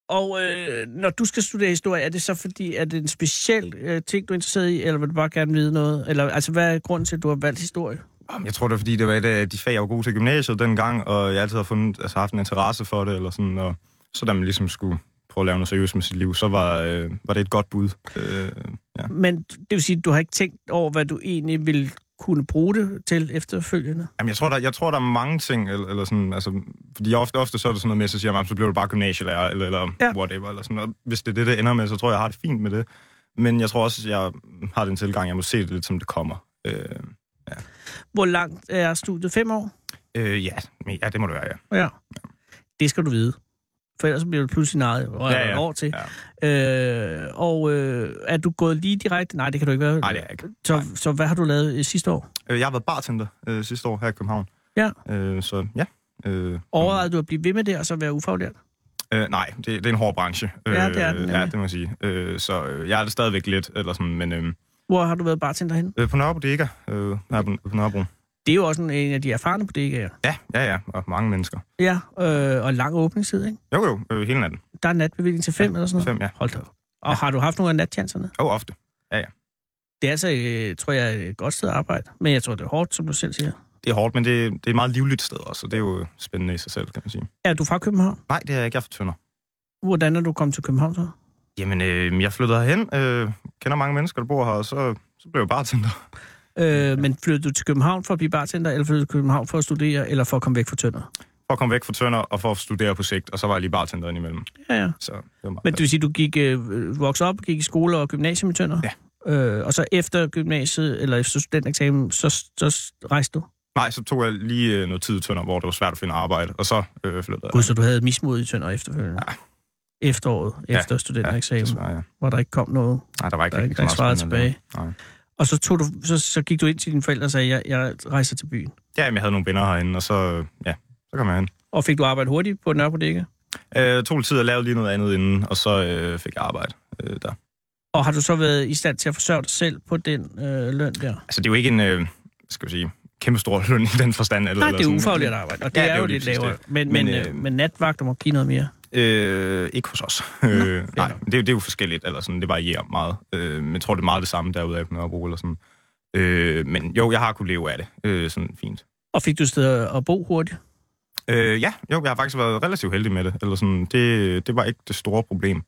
S5: Og øh, når du skal studere historie, er det så fordi, er det en speciel øh, ting, du er interesseret i, eller vil du bare gerne vide noget? Eller altså, hvad er grunden til, at du har valgt historie?
S9: Jamen, Jeg tror, det er, fordi det var et af de fag, jeg var god til i gymnasiet dengang, og jeg altid har fundet, altså, haft en interesse for det, eller sådan, og så da man ligesom skulle prøve at lave noget seriøst med sit liv, så var, øh, var det et godt bud. Øh, ja.
S5: Men det vil sige, at du har ikke tænkt over, hvad du egentlig vil kunne bruge det til efterfølgende?
S9: Jamen, jeg tror, der, jeg tror, der er mange ting, eller, eller sådan, altså, fordi jeg ofte, ofte så er det sådan noget med, så siger man, så bliver du bare gymnasielærer, eller, eller
S5: Ja.
S9: ja. whatever, eller sådan noget. Hvis det er det, det ender med, så tror jeg, jeg har det fint med det. Men jeg tror også, jeg har den tilgang, jeg må se det lidt, som det kommer. Øh,
S5: Hvor langt er studiet? Fem år?
S9: øh, ja, men- ja, det må det være, ja.
S5: Ja. Det skal du vide. For ellers så bliver du pludselig nejet, og er
S9: Ja,
S5: ja,
S9: ja.
S5: ja. år til.
S9: ja.
S5: Øh, og øh, er du gået lige direkte? Nej, det kan du ikke være.
S9: Nej, det er jeg ikke.
S5: så, så hvad har du lavet øh, sidste år?
S9: Øh, Jeg har været bartender øh, sidste år her i København.
S5: Ja.
S9: Øh, så ja. Øh,
S5: Overvejede du at blive ved med det, og så være ufaglært?
S9: Øh, nej, det, det er en hård branche.
S5: Ja, det er den
S9: Øh, Ja,
S5: nemlig.
S9: det må jeg sige. Øh, så øh, jeg er det stadigvæk lidt, eller sådan, men øh,
S5: Hvor har du været bartender henne?
S9: øh, på Nørrebro, det ikke er. Øh, nej, på, på Nørrebro.
S5: Det er jo også en, en af de erfarne bodegaer.
S9: Ja, ja, ja, og mange mennesker.
S5: Ja, øh, og lang åbningstid, ikke?
S9: Jo, jo, øh, hele natten.
S5: Der er natbevilling til fem eller sådan noget.
S9: Fem, ja.
S5: Hold da op. Og har du haft nogle af natchancerne?
S9: Jo, ofte.
S5: Det er altså, øh, tror jeg, et godt sted at arbejde. Men jeg tror, det er hårdt, som du selv siger.
S9: Det er hårdt, men det, det er et meget livligt sted også, og det er jo øh, spændende i sig selv, kan man sige.
S5: Er du fra København?
S9: Nej, det er jeg ikke. Jeg er fra Tønder.
S5: Hvordan er du kommet til København så?
S9: Jamen, øh, jeg flyttede herhen, øh, kender mange mennesker, der bor her, og så, så blev jeg bartender.
S5: Øh, men flyttede du til København for at blive bartender, eller flyttede du til København for at studere, eller for at komme væk fra Tønder?
S9: For at komme væk fra Tønder og for at studere på sigt, og så var jeg lige bartender indimellem.
S5: Ja, ja.
S9: Så det var meget
S5: Men det vil sige, du gik, øh, voksede op, gik i skole og gymnasium i Tønder?
S9: Ja.
S5: Øh, og så efter gymnasiet, eller efter studentereksamen, så, så rejste du?
S9: Nej, så tog jeg lige øh, noget tid i Tønder, hvor det var svært at finde arbejde, og så øh, flyttede
S5: Gud,
S9: jeg.
S5: så du havde mismod i Tønder efterfølgende? Ja. Efteråret,
S9: Ja,
S5: efter studentereksamen,
S9: desværre, ja.
S5: hvor der ikke kom noget,
S9: Nej, der var ikke
S5: der ikke
S9: rigtig
S5: blev
S9: så
S5: svaret
S9: meget spændende
S5: tilbage.
S9: der. Nej.
S5: Og så, tog du, så, så gik du ind til dine forældre og sagde, jeg, jeg rejser til byen.
S9: Ja, jamen, jeg havde nogle venner herinde, og så, øh, ja, så kom jeg hen.
S5: Og fik du arbejde hurtigt på Nørrebro Dække?
S9: Øh, tog lidt tid at lave lige noget andet inden, og så øh, fik jeg arbejde øh, der.
S5: Og har du så været i stand til at forsørge dig selv på den øh, løn der?
S9: Altså, det er jo ikke en, øh, skal vi sige, kæmpe stor løn i den forstand. Eller,
S5: Nej,
S9: eller
S5: det er
S9: sådan.
S5: ufaglært arbejde, og det
S9: Ja,
S5: ja, er jo
S9: lige
S5: lidt
S9: præcis
S5: lavere.
S9: det.
S5: Men, men,
S9: Men,
S5: øh,
S9: øh,
S5: men natvagter må give noget mere.
S9: Øh, ikke hos os. Øh, nej, men det, er jo- det er jo forskelligt, eller sådan, det varierer meget. Øh, men jeg tror, det er meget det samme derude af på Nørrebro, eller sådan. Øh, men jo, jeg har kunnet leve af det, øh, sådan fint.
S5: Og fik du et sted at bo hurtigt?
S9: Øh, ja, jo, jeg har faktisk været relativt heldig med det, eller sådan, det, det var ikke det store problem.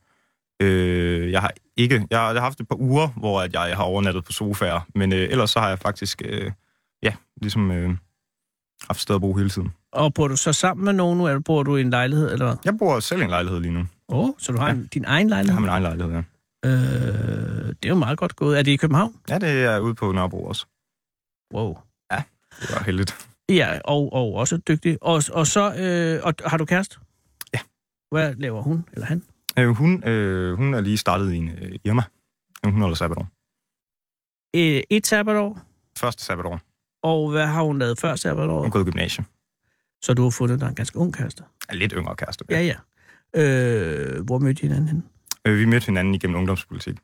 S9: Øh, jeg har ikke, jeg, har- jeg har haft et par uger, hvor at jeg har overnattet på sofaer, men øh, ellers så har jeg faktisk, øh, ja, ligesom øh, haft sted at bo hele tiden.
S5: Og bor du så sammen med nogen nu, eller bor du i en lejlighed? Eller? hvad?
S9: Jeg bor selv i en lejlighed lige nu.
S5: Åh, oh, så du har en, din egen
S9: Jeg
S5: lejlighed?
S9: har min egen lejlighed, ja.
S5: Øh, det er jo meget godt gået. Er det i København?
S9: Ja, det er ude på Nørrebro også.
S5: Wow.
S9: Det var heldigt.
S5: Ja, og, og også dygtig. Og, og så, øh, og har du kæreste?
S9: Ja.
S5: Hvad laver hun, eller han?
S9: Øh, hun, øh, hun er lige startet i en øh, Irma. Hun holder sabbatår.
S5: Øh, et sabbatår,
S9: Første sabbatår.
S5: og hvad har hun lavet før sabbatåret?
S9: Hun går i gymnasiet.
S5: Så du har fundet dig en ganske ung kæreste?
S9: Er lidt yngre kæreste.
S5: Ja, ja. Øh, hvor mødte I hinanden henne?
S9: Øh, vi mødte hinanden igennem ungdomspolitik.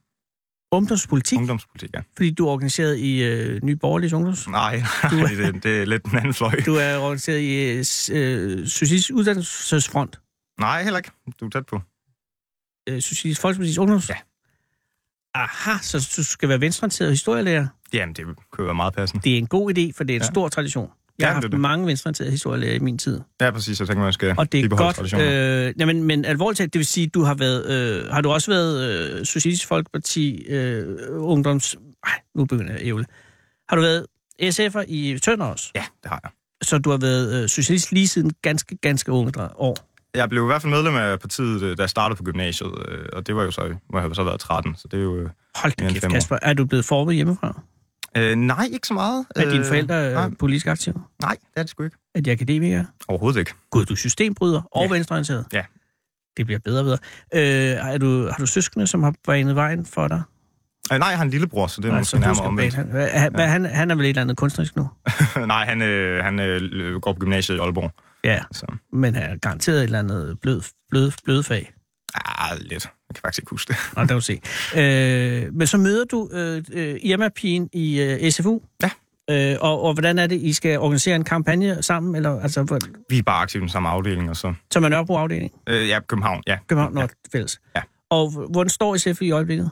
S5: Ungdomspolitik, Ungdom.
S9: Ungdomspolitik, ja.
S5: fordi du er organiseret i øh, Nye Borgerliges Ungdoms...
S9: Nej, nej
S5: Du-
S9: det, det er lidt en anden fløj.
S5: Du er organiseret i øh, s- øh, Socialistisk Uddannelsesfront.
S9: Nej, heller ikke. Du er tæt på.
S5: Øh, Socialistisk Folkeparti's Ungdoms...
S9: Ja.
S5: Aha, så du skal være venstreorienteret historielærer.
S9: Jamen, det kunne jo være meget passende.
S5: Det er en god idé, for det er en ja.
S9: Ja.
S5: stor tradition. Jeg
S9: Ja,
S5: har
S9: det er
S5: haft
S9: det.
S5: mange venstreorienterede historielærer i min tid.
S9: Ja, præcis. Jeg tænker, man skal
S5: Og det er
S9: bibeholde
S5: godt.
S9: traditioner.
S5: Øh, jamen, men alvorligt talt, det vil sige, du har været, øh, har du også været øh, Socialistisk Folkeparti øh, Ungdoms... Nej, nu begynder jeg at ævle. Har du været SF'er i Tønder også.
S9: Ja, det har jeg.
S5: Så du har været øh, socialist lige siden ganske, ganske unge dre- år.
S9: Jeg blev i hvert fald medlem af partiet, øh, da jeg startede på gymnasiet, øh, og det var jo så, må jeg have så været 13, så det er jo... øh,
S5: Hold
S9: Mere
S5: da
S9: end
S5: kæft,
S9: fem år.
S5: Kasper. Er du blevet formet hjemmefra?
S9: Øh, nej, ikke så meget.
S5: Er dine forældre
S9: nej.
S5: øh, politisk aktive?
S9: Nej, det er det sgu ikke.
S5: Er de akademikere?
S9: Overhovedet ikke.
S5: Gud, du er systembryder og
S9: Ja.
S5: venstreorienteret.
S9: Ja.
S5: Det bliver bedre og bedre. Øh, er du, har du søskende, som har banet vejen for dig?
S9: Øh, nej, jeg har en lillebror, så det er
S5: Altså,
S9: måske
S5: du
S9: nærmere
S5: skal
S9: omvendt.
S5: bane- Hvad, hvad, hvad, han, han er vel et eller andet kunstnerisk nu?
S9: nej, han, øh, han øh, går på gymnasiet i Aalborg.
S5: Ja,
S9: Så,
S5: men han er garanteret et eller andet blød, blød, blød fag.
S9: ah, lidt. Jeg kan faktisk ikke huske det.
S5: Nå, der vil se. Øh, men så møder du øh, øh, Irma-pigen i øh, SFU.
S9: Ja.
S5: Øh, og, og hvordan er det, I skal organisere en kampagne sammen, eller altså, hvor,
S9: Vi er bare aktive i den samme afdeling, og så...
S5: som er Nørrebro afdeling,
S9: Øh, ja, København, ja.
S5: København Nord fælles.
S9: Ja.
S5: Og h- hvordan står SF i øjeblikket?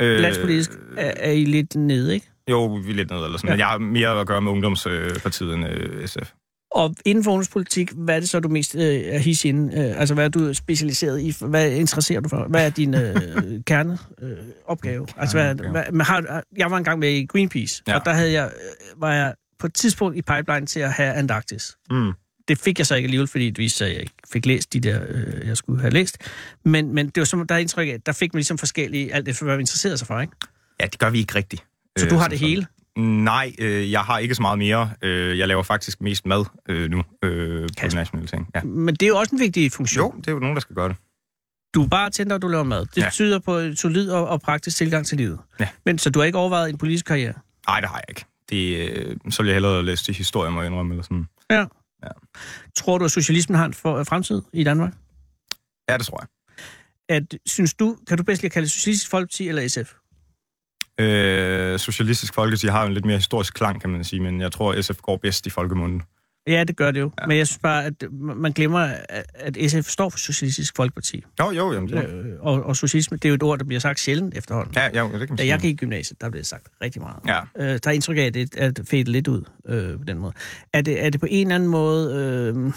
S9: Øh,
S5: Landspolitisk er, er I lidt nede, ikke?
S9: Jo, vi er lidt nede eller sådan.
S5: Ja.
S9: Ja. Jeg har mere at gøre med Ungdomspartiet end øh, SF.
S5: Og inden for udenrigspolitik, hvad er det så, du mest øh, er his inden? Øh, altså, hvad er du specialiseret i? Hvad interesserer du for? Hvad er din øh, kerneopgave? Øh, opgave? altså, hvad,
S9: Mm, Kerneopgave.
S5: hvad, men har, jeg var engang med i Greenpeace, ja.
S9: Ja.
S5: og der havde jeg, øh, var jeg på et tidspunkt i pipeline til at have Antarktis.
S9: Mm.
S5: Det fik jeg så ikke alligevel, fordi det viste sig, at jeg ikke fik læst de der, øh, jeg skulle have læst. Men, men det var som, der er indtryk af, der fik man ligesom forskellige, alt efter hvad man interesserede sig for, ikke?
S9: Ja, det gør vi ikke rigtigt.
S5: Så
S9: øh,
S5: du har
S9: som
S5: det
S9: sådan.
S5: hele.
S9: Nej, øh, jeg har ikke så meget mere. Øh, jeg laver faktisk mest mad øh, nu øh, på
S5: Kasper.
S9: nationale ting. Ja.
S5: Men det er jo også en vigtig funktion.
S9: Jo, det er jo nogen, der skal gøre det.
S5: du er bare tænder, og du laver mad. Det ja.
S9: Ja.
S5: tyder på en solid og, og praktisk tilgang til livet.
S9: Ja.
S5: Men så du har ikke overvejet en politisk karriere?
S9: Nej, det har jeg ikke. Det, øh, så vil jeg hellere læse til historie, må jeg indrømme. Eller sådan.
S5: Ja.
S9: Ja.
S5: Tror du, at socialismen har en for, øh, fremtid i Danmark?
S9: Ja, det tror jeg.
S5: At, synes du, kan du bedst lige kalde det Socialistisk Folkeparti eller SF?
S9: Øh, Socialistisk Folkeparti har jo en lidt mere historisk klang, kan man sige, men jeg tror, SF går bedst i folkemunden.
S5: Ja, det gør det jo. Ja. Men jeg synes bare, at man glemmer, at- at SF står for Socialistisk Folkeparti.
S9: Jo, jo, jamen, det,
S5: Ja. Øh, og, og socialisme, det er jo et ord, der bliver sagt sjældent efterhånden.
S9: ja, jo, det kan man
S5: Da
S9: sige.
S5: jeg gik i gymnasiet, der blev det sagt rigtig meget.
S9: Ja.
S5: Øh, der er indtryk af, at det er fedt lidt ud øh, på den måde. Er det, er det på en eller anden måde... Øh,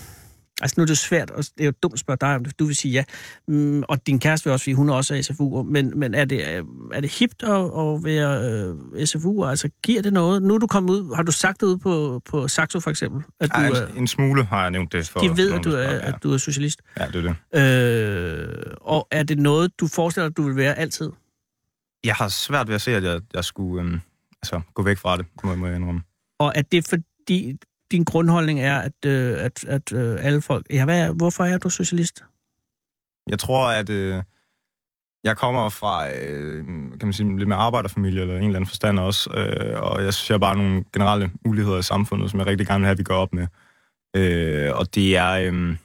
S5: altså nu er det jo svært, og det er jo dumt at spørge dig om det, for du vil sige ja. Mm, og din kæreste vil også, fordi hun er også er SFU, men, men er, det, øh, er det hipt at, at være øh, SFU? Altså giver det noget? Nu er du kommet ud, har du sagt det ud på, på Saxo for eksempel? At du,
S9: Ej,
S5: er,
S9: en, en smule har jeg nævnt det for...
S5: de ved,
S9: nogen,
S5: at du
S9: der
S5: er,
S9: spørger.
S5: at du er socialist.
S9: Ja, ja, det er det.
S5: Øh, og er det noget, du forestiller dig, du vil være altid?
S9: Jeg har svært ved at se, at jeg, jeg skulle øhm, altså, gå væk fra det, må, må jeg indrømme.
S5: Og er det fordi, din grundholdning er, at, øh, at, at øh, alle folk... Ja, hvad er, hvorfor er du socialist?
S9: Jeg tror, at øh, jeg kommer fra, øh, kan man sige, lidt mere arbejderfamilie eller en eller anden forstand også, øh, og jeg synes, jeg har bare nogle generelle uligheder i samfundet, som jeg rigtig gerne vil have, at vi går op med. Øh, og det er, øh,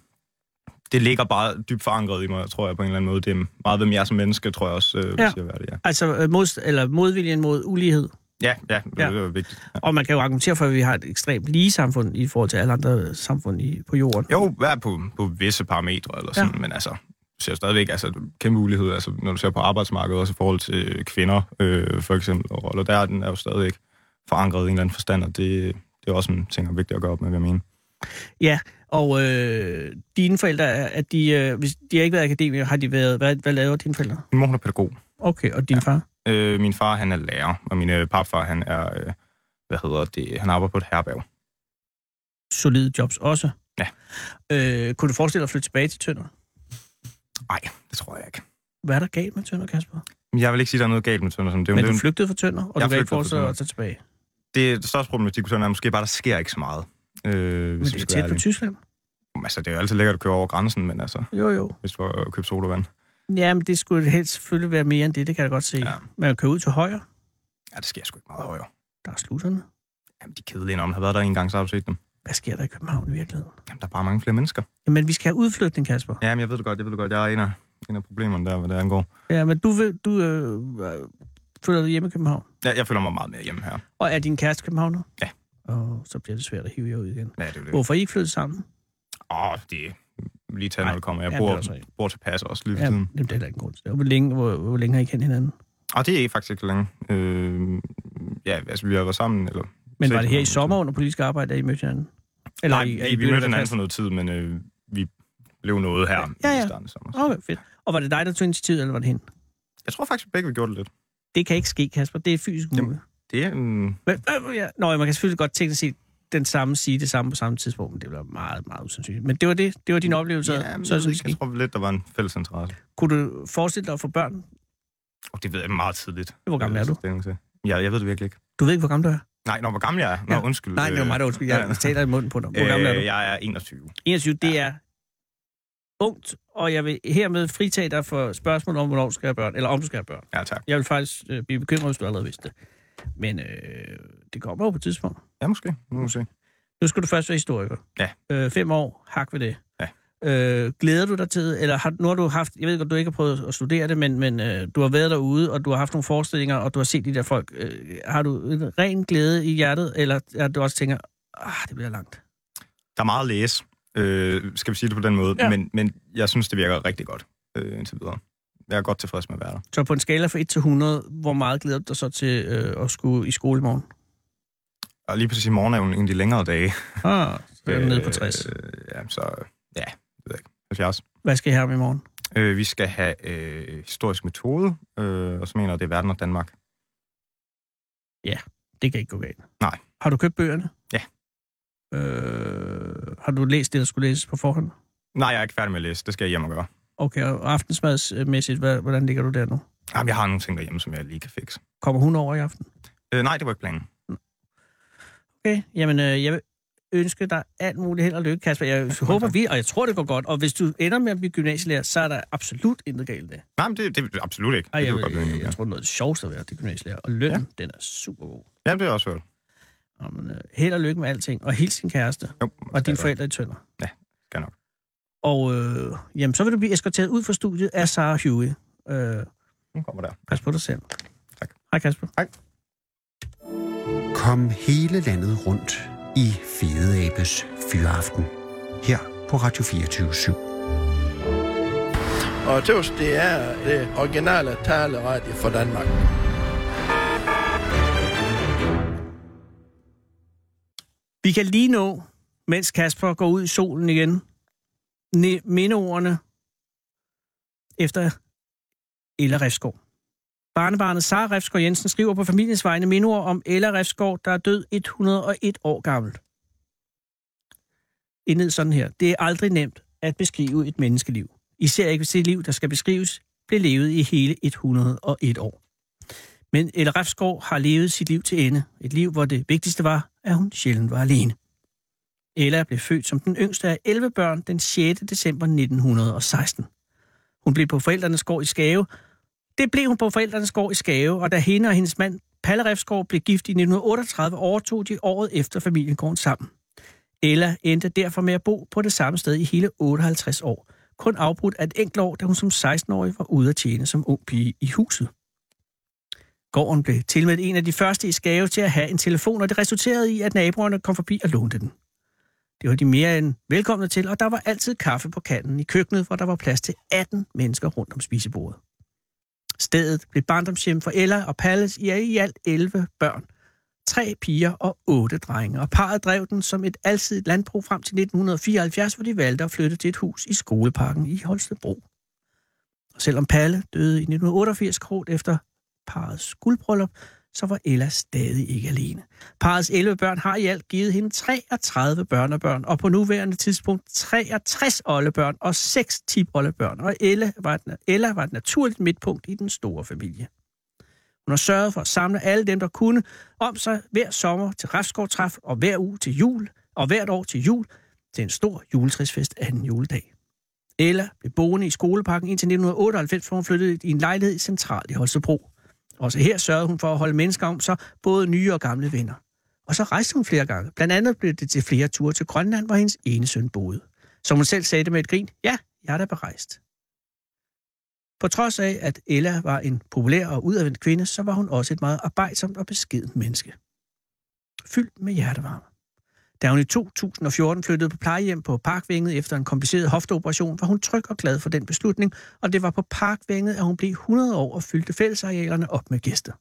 S9: det ligger bare dybt forankret i mig, tror jeg, på en eller anden måde. Det er meget, hvem jeg er som menneske, tror jeg også, øh, hvis
S5: Ja.
S9: ja. jeg er det, ja.
S5: Altså øh, mod, eller modviljen mod ulighed.
S9: Ja, ja, det,
S5: Ja.
S9: ja. det er vigtigt. Ja.
S5: Og man kan jo argumentere for, at vi har et ekstremt lige samfund i forhold til alle andre samfund i, på jorden.
S9: Jo, vær på, på visse parametre eller sådan,
S5: Ja.
S9: ja. men altså, du ser stadigvæk altså, kæmpe mulighed, altså, når du ser på arbejdsmarkedet, også i forhold til kvinder, øh, for eksempel, og roller der, den er jo stadigvæk forankret i en eller anden forstand, og det, det er også en ting, der er vigtigt at gøre op med, hvad jeg mener.
S5: Ja, og øh, dine forældre, er er de, øh, hvis de har ikke været akademikere, har de været... Hvad, hvad laver dine forældre?
S9: Min mor, hun er pædagog.
S5: Okay, og din ja. far?
S9: Øh, min far, han er lærer, og min øh, papfar, han er, øh, hvad hedder det, han arbejder på et herberg.
S5: Solide jobs også.
S9: Ja.
S5: Øh, kunne du forestille dig at flytte tilbage til Tønder?
S9: Nej, det tror jeg ikke.
S5: Hvad er der galt med Tønder, Kasper?
S9: Men Jeg vil ikke sige, der er noget galt med Tønder. Som det, er jo-
S5: Men
S9: det,
S5: du
S9: er jo-
S5: flygtede fra Tønder, og
S9: Jeg
S5: du kan ikke
S9: flygtede fra
S5: forestille dig
S9: Tønder.
S5: at tage tilbage.
S9: det, det største problematik på Tønder er måske bare, der sker ikke så meget. Øh,
S5: Men det er tæt på Tyskland.
S9: Altså, det er jo altid lækkert at køre over grænsen, men altså,
S5: Jo, jo.
S9: hvis du har købt sodavand.
S5: Ja, men det skulle helst selvfølgelig være mere end det, det kan jeg godt se. Ja.
S9: Ja.
S5: Man kører ud til højre,
S9: Ja, det sker sgu ikke meget højere.
S5: der er slutterne.
S9: Jamen, de er kedelige, når man har været der en gang, så har du set dem.
S5: Hvad sker der i København i virkeligheden?
S9: Jamen, der er bare mange flere mennesker.
S5: Jamen, vi skal have udflytning, Kasper.
S9: Jamen, jeg ved det godt, jeg ved det godt. Jeg er en af, en af problemerne der, hvad det angår.
S5: Ja, men du, vil, du øh, øh, føler dig hjemme i København.
S9: Jeg, jeg føler mig meget mere hjemme her.
S5: Og er din kæreste københavner?
S9: Ja.
S5: Og så bliver det svært at hive jer ud igen.
S9: Ja, det er jo det. Åh,
S5: Hvorfor er I ikke flyttet sammen?
S9: oh. oh, det er lige tage, når
S5: Nej,
S9: det kommer. Jeg
S5: ja, det er
S9: bor,
S5: også rigtigt.
S9: bor tilpas også lige for
S5: Ja,
S9: tiden.
S5: jamen, det er heller ikke en grund til det. Hvor længe, hvor, hvor længe har I kendt hinanden?
S9: Og det er faktisk ikke så længe. Øh, ja, altså, vi har været sammen, eller...
S5: Men
S9: Set
S5: var det her i
S9: hinanden.
S5: sommer under politisk arbejde, at I mødte hinanden? Eller
S9: Nej,
S5: I-
S9: vi,
S5: I
S9: vi
S5: blev
S9: mødte hinanden
S5: fast?
S9: for noget tid, men øh, vi blev noget her
S5: Ja,
S9: i
S5: ja.
S9: starten af sommer.
S5: Okay, fedt. Og var det dig, der tog initiativet, eller var det hende?
S9: Jeg tror faktisk, at begge vi gjorde det lidt.
S5: Det kan ikke ske, Kasper. Det er fysisk
S9: Jamen,
S5: muligt.
S9: Det er en...
S5: Men, øh, ja. Nå, ja, man kan selvfølgelig godt tænke sig den samme sige det samme på samme tidspunkt, men det bliver meget, meget usandsynligt. Men det var det, det var din oplevelse.
S9: Mm. ja, men
S5: så,
S9: jeg,
S5: så,
S9: ved ikke, jeg tror lidt, der var en fælles interesse.
S5: Kunne du forestille dig at få børn?
S9: Og det ved jeg meget tidligt.
S5: Hvor gammel er du?
S9: Ja, jeg ved det virkelig ikke.
S5: Du ved ikke, hvor gammel du er?
S9: Nej, når hvor gammel jeg er. Nå,
S5: Ja.
S9: undskyld.
S5: Nej, det var mig, der undskyld. Jeg taler i munden på dig. Hvor gammel er du?
S9: Øh, jeg er 21.
S5: 21, det er ungt, og jeg vil hermed fritage dig for spørgsmål om, hvornår du skal have børn, eller om du skal have børn.
S9: Ja, tak.
S5: Jeg vil faktisk øh, blive bekymret, hvis du allerede vidste det. Men øh, det kommer jo på et tidspunkt.
S9: Ja, måske. Nu må vi se.
S5: Nu skal du først være historiker.
S9: Ja.
S5: Øh, fem år, hak ved det.
S9: Ja.
S5: Øh, glæder du dig til, eller har, nu har du haft, jeg ved godt, du ikke har prøvet at studere det, men, men øh, du har været derude, og du har haft nogle forestillinger, og du har set de der folk. Øh, har du en ren glæde i hjertet, eller er du også tænker, ah, det bliver langt?
S9: Der er meget at læse, øh, skal vi sige det på den måde.
S5: Ja.
S9: Ja. Men, men jeg synes, det virker rigtig godt øh, indtil videre. Jeg er godt tilfreds med at være der.
S5: Så på en skala fra 1 til 100, hvor meget glæder du dig så til øh, at skulle i skole i morgen?
S9: Og lige præcis i morgen er jo en af de længere dage.
S5: Ah, så er du nede på 60.
S9: Øh, ja, så... Ja, det ved jeg ikke. 70.
S5: Hvad skal I have om i morgen?
S9: Øh, vi skal have øh, historisk metode, øh, og så mener jeg, det er verden og Danmark.
S5: Det kan ikke gå galt.
S9: Nej.
S5: Har du købt bøgerne?
S9: Ja.
S5: Øh, har du læst det, der skulle læses på forhånd?
S9: Nej, jeg er ikke færdig med at læse. Det skal jeg hjem og gøre.
S5: Okay, og aftensmadsmæssigt, hvad- hvordan ligger du der nu?
S9: Jamen, jeg har nogle ting derhjemme, som jeg lige kan fikse.
S5: Kommer hun over i aften?
S9: Øh, nej, det var ikke planen.
S5: Okay, jamen øh, jeg vil ønske dig alt muligt held og lykke, Kasper. Jeg håber vi, og jeg tror, det går godt. Og hvis du ender med at blive gymnasielærer, så er der absolut intet galt med det.
S9: Nej, men det, det er absolut ikke.
S5: Ej,
S9: det
S5: jeg,
S9: kan vi godt blive enige
S5: jeg,
S9: om,
S5: jeg, jeg tror, det er noget af det sjoveste at være det gymnasielærer. Og lønnen, ja. den er super god.
S9: Ja, det er også hørt.
S5: Jamen, øh, held og lykke med alting. Og hils din kæreste
S9: Jo,
S5: og dine
S9: skal jeg
S5: forældre i Tønder.
S9: nok. Skal jeg nok.
S5: Og øh, jamen, så vil du blive eskorteret ud fra studiet af Sarah Huey. Øh,
S9: Nu kommer der.
S5: pas på dig selv.
S9: Tak.
S5: Hej Kasper.
S3: Kom hele landet rundt i Fede Abes Fyraften. Her på Radio 24 /7.
S10: Og tøs, det er det originale taleradio for Danmark.
S5: Vi kan lige nå, mens Kasper går ud i solen igen, ne- mindeordene efter Ella Refsgaard. Barnebarnet Sara Refsgaard Jensen skriver på familiens vegne mindeord om Ella Refsgaard, der er død 101 år gammel. Indled sådan her. Det er aldrig nemt at beskrive et menneskeliv. Især ikke hvis det liv, der skal beskrives, blev levet i hele 101 år. Men Ella Refsgaard har levet sit liv til ende. Et liv, hvor det vigtigste var, at hun sjældent var alene. Ella blev født som den yngste af 11 børn den 6. december 1916. Hun blev på forældrenes gård i Skave. Det blev hun på forældrenes gård i Skave, og da hende og hendes mand Palle Refsgaard blev gift i 1938, overtog de året efter familiegården sammen. Ella endte derfor med at bo på det samme sted i hele 58 år. Kun afbrudt af et enkelt år, da hun som 16-årig var ude at tjene som ung pige i huset. Gården blev tilmeldt en af de første i Skave til at have en telefon, og det resulterede i, at naboerne kom forbi og lånte den. Det var de mere end velkomne til, og der var altid kaffe på kanten i køkkenet, hvor der var plads til 18 mennesker rundt om spisebordet. Stedet blev barndomshjem for Ella og Palles i i alt 11 børn. Tre piger og otte drenge, og parret drev den som et alsidigt landbrug frem til 1974, hvor de valgte at flytte til et hus i skoleparken i Holstebro. Og selvom Palle døde i 1988 kort efter parrets guldbryllup, så var Ella stadig ikke alene. Parrets 11 børn har i alt givet hende 33 børnebørn, og på nuværende tidspunkt 63 oldebørn og 6 tipoldebørn, og Ella var, et, Ella var et naturligt midtpunkt i den store familie. Hun har sørget for at samle alle dem, der kunne, om sig hver sommer til Refskovtræf og hver uge til jul, og hvert år til jul til en stor juletræsfest anden juledag. Ella blev boende i skoleparken indtil 1998, hvor hun flyttede i en lejlighed centralt i Holstebro. Også her sørgede hun for at holde mennesker om sig, både nye og gamle venner. Og så rejste hun flere gange. Blandt andet blev det til flere ture til Grønland, hvor hendes ene søn boede. Som hun selv sagde det med et grin, ja, jeg er da berejst. På trods af, at Ella var en populær og udadvendt kvinde, så var hun også et meget arbejdsomt og beskedent menneske. Fyldt med hjertevarme. Da hun i 2014 flyttede på plejehjem på Parkvænget efter en kompliceret hofteoperation, var hun tryg og glad for den beslutning, og det var på Parkvænget, at hun blev 100 år og fyldte fællesarealerne op med gæster.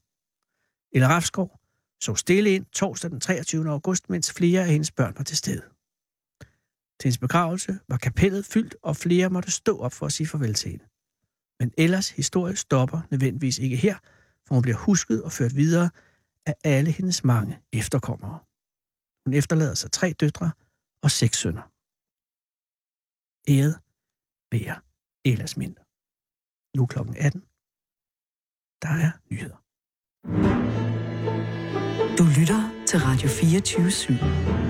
S5: Ella Rafskov så stille ind torsdag den 23. august, mens flere af hendes børn var til stede. Til hendes begravelse var kapellet fyldt, og flere måtte stå op for at sige farvel til hende. Men Ellas historie stopper nødvendigvis ikke her, for hun bliver husket og ført videre af alle hendes mange efterkommere. Hun efterlader sig tre døtre og seks sønner. Æret være Elas mindre. Nu er klokken 18. Der er nyheder.
S1: Du lytter til Radio 24 /7.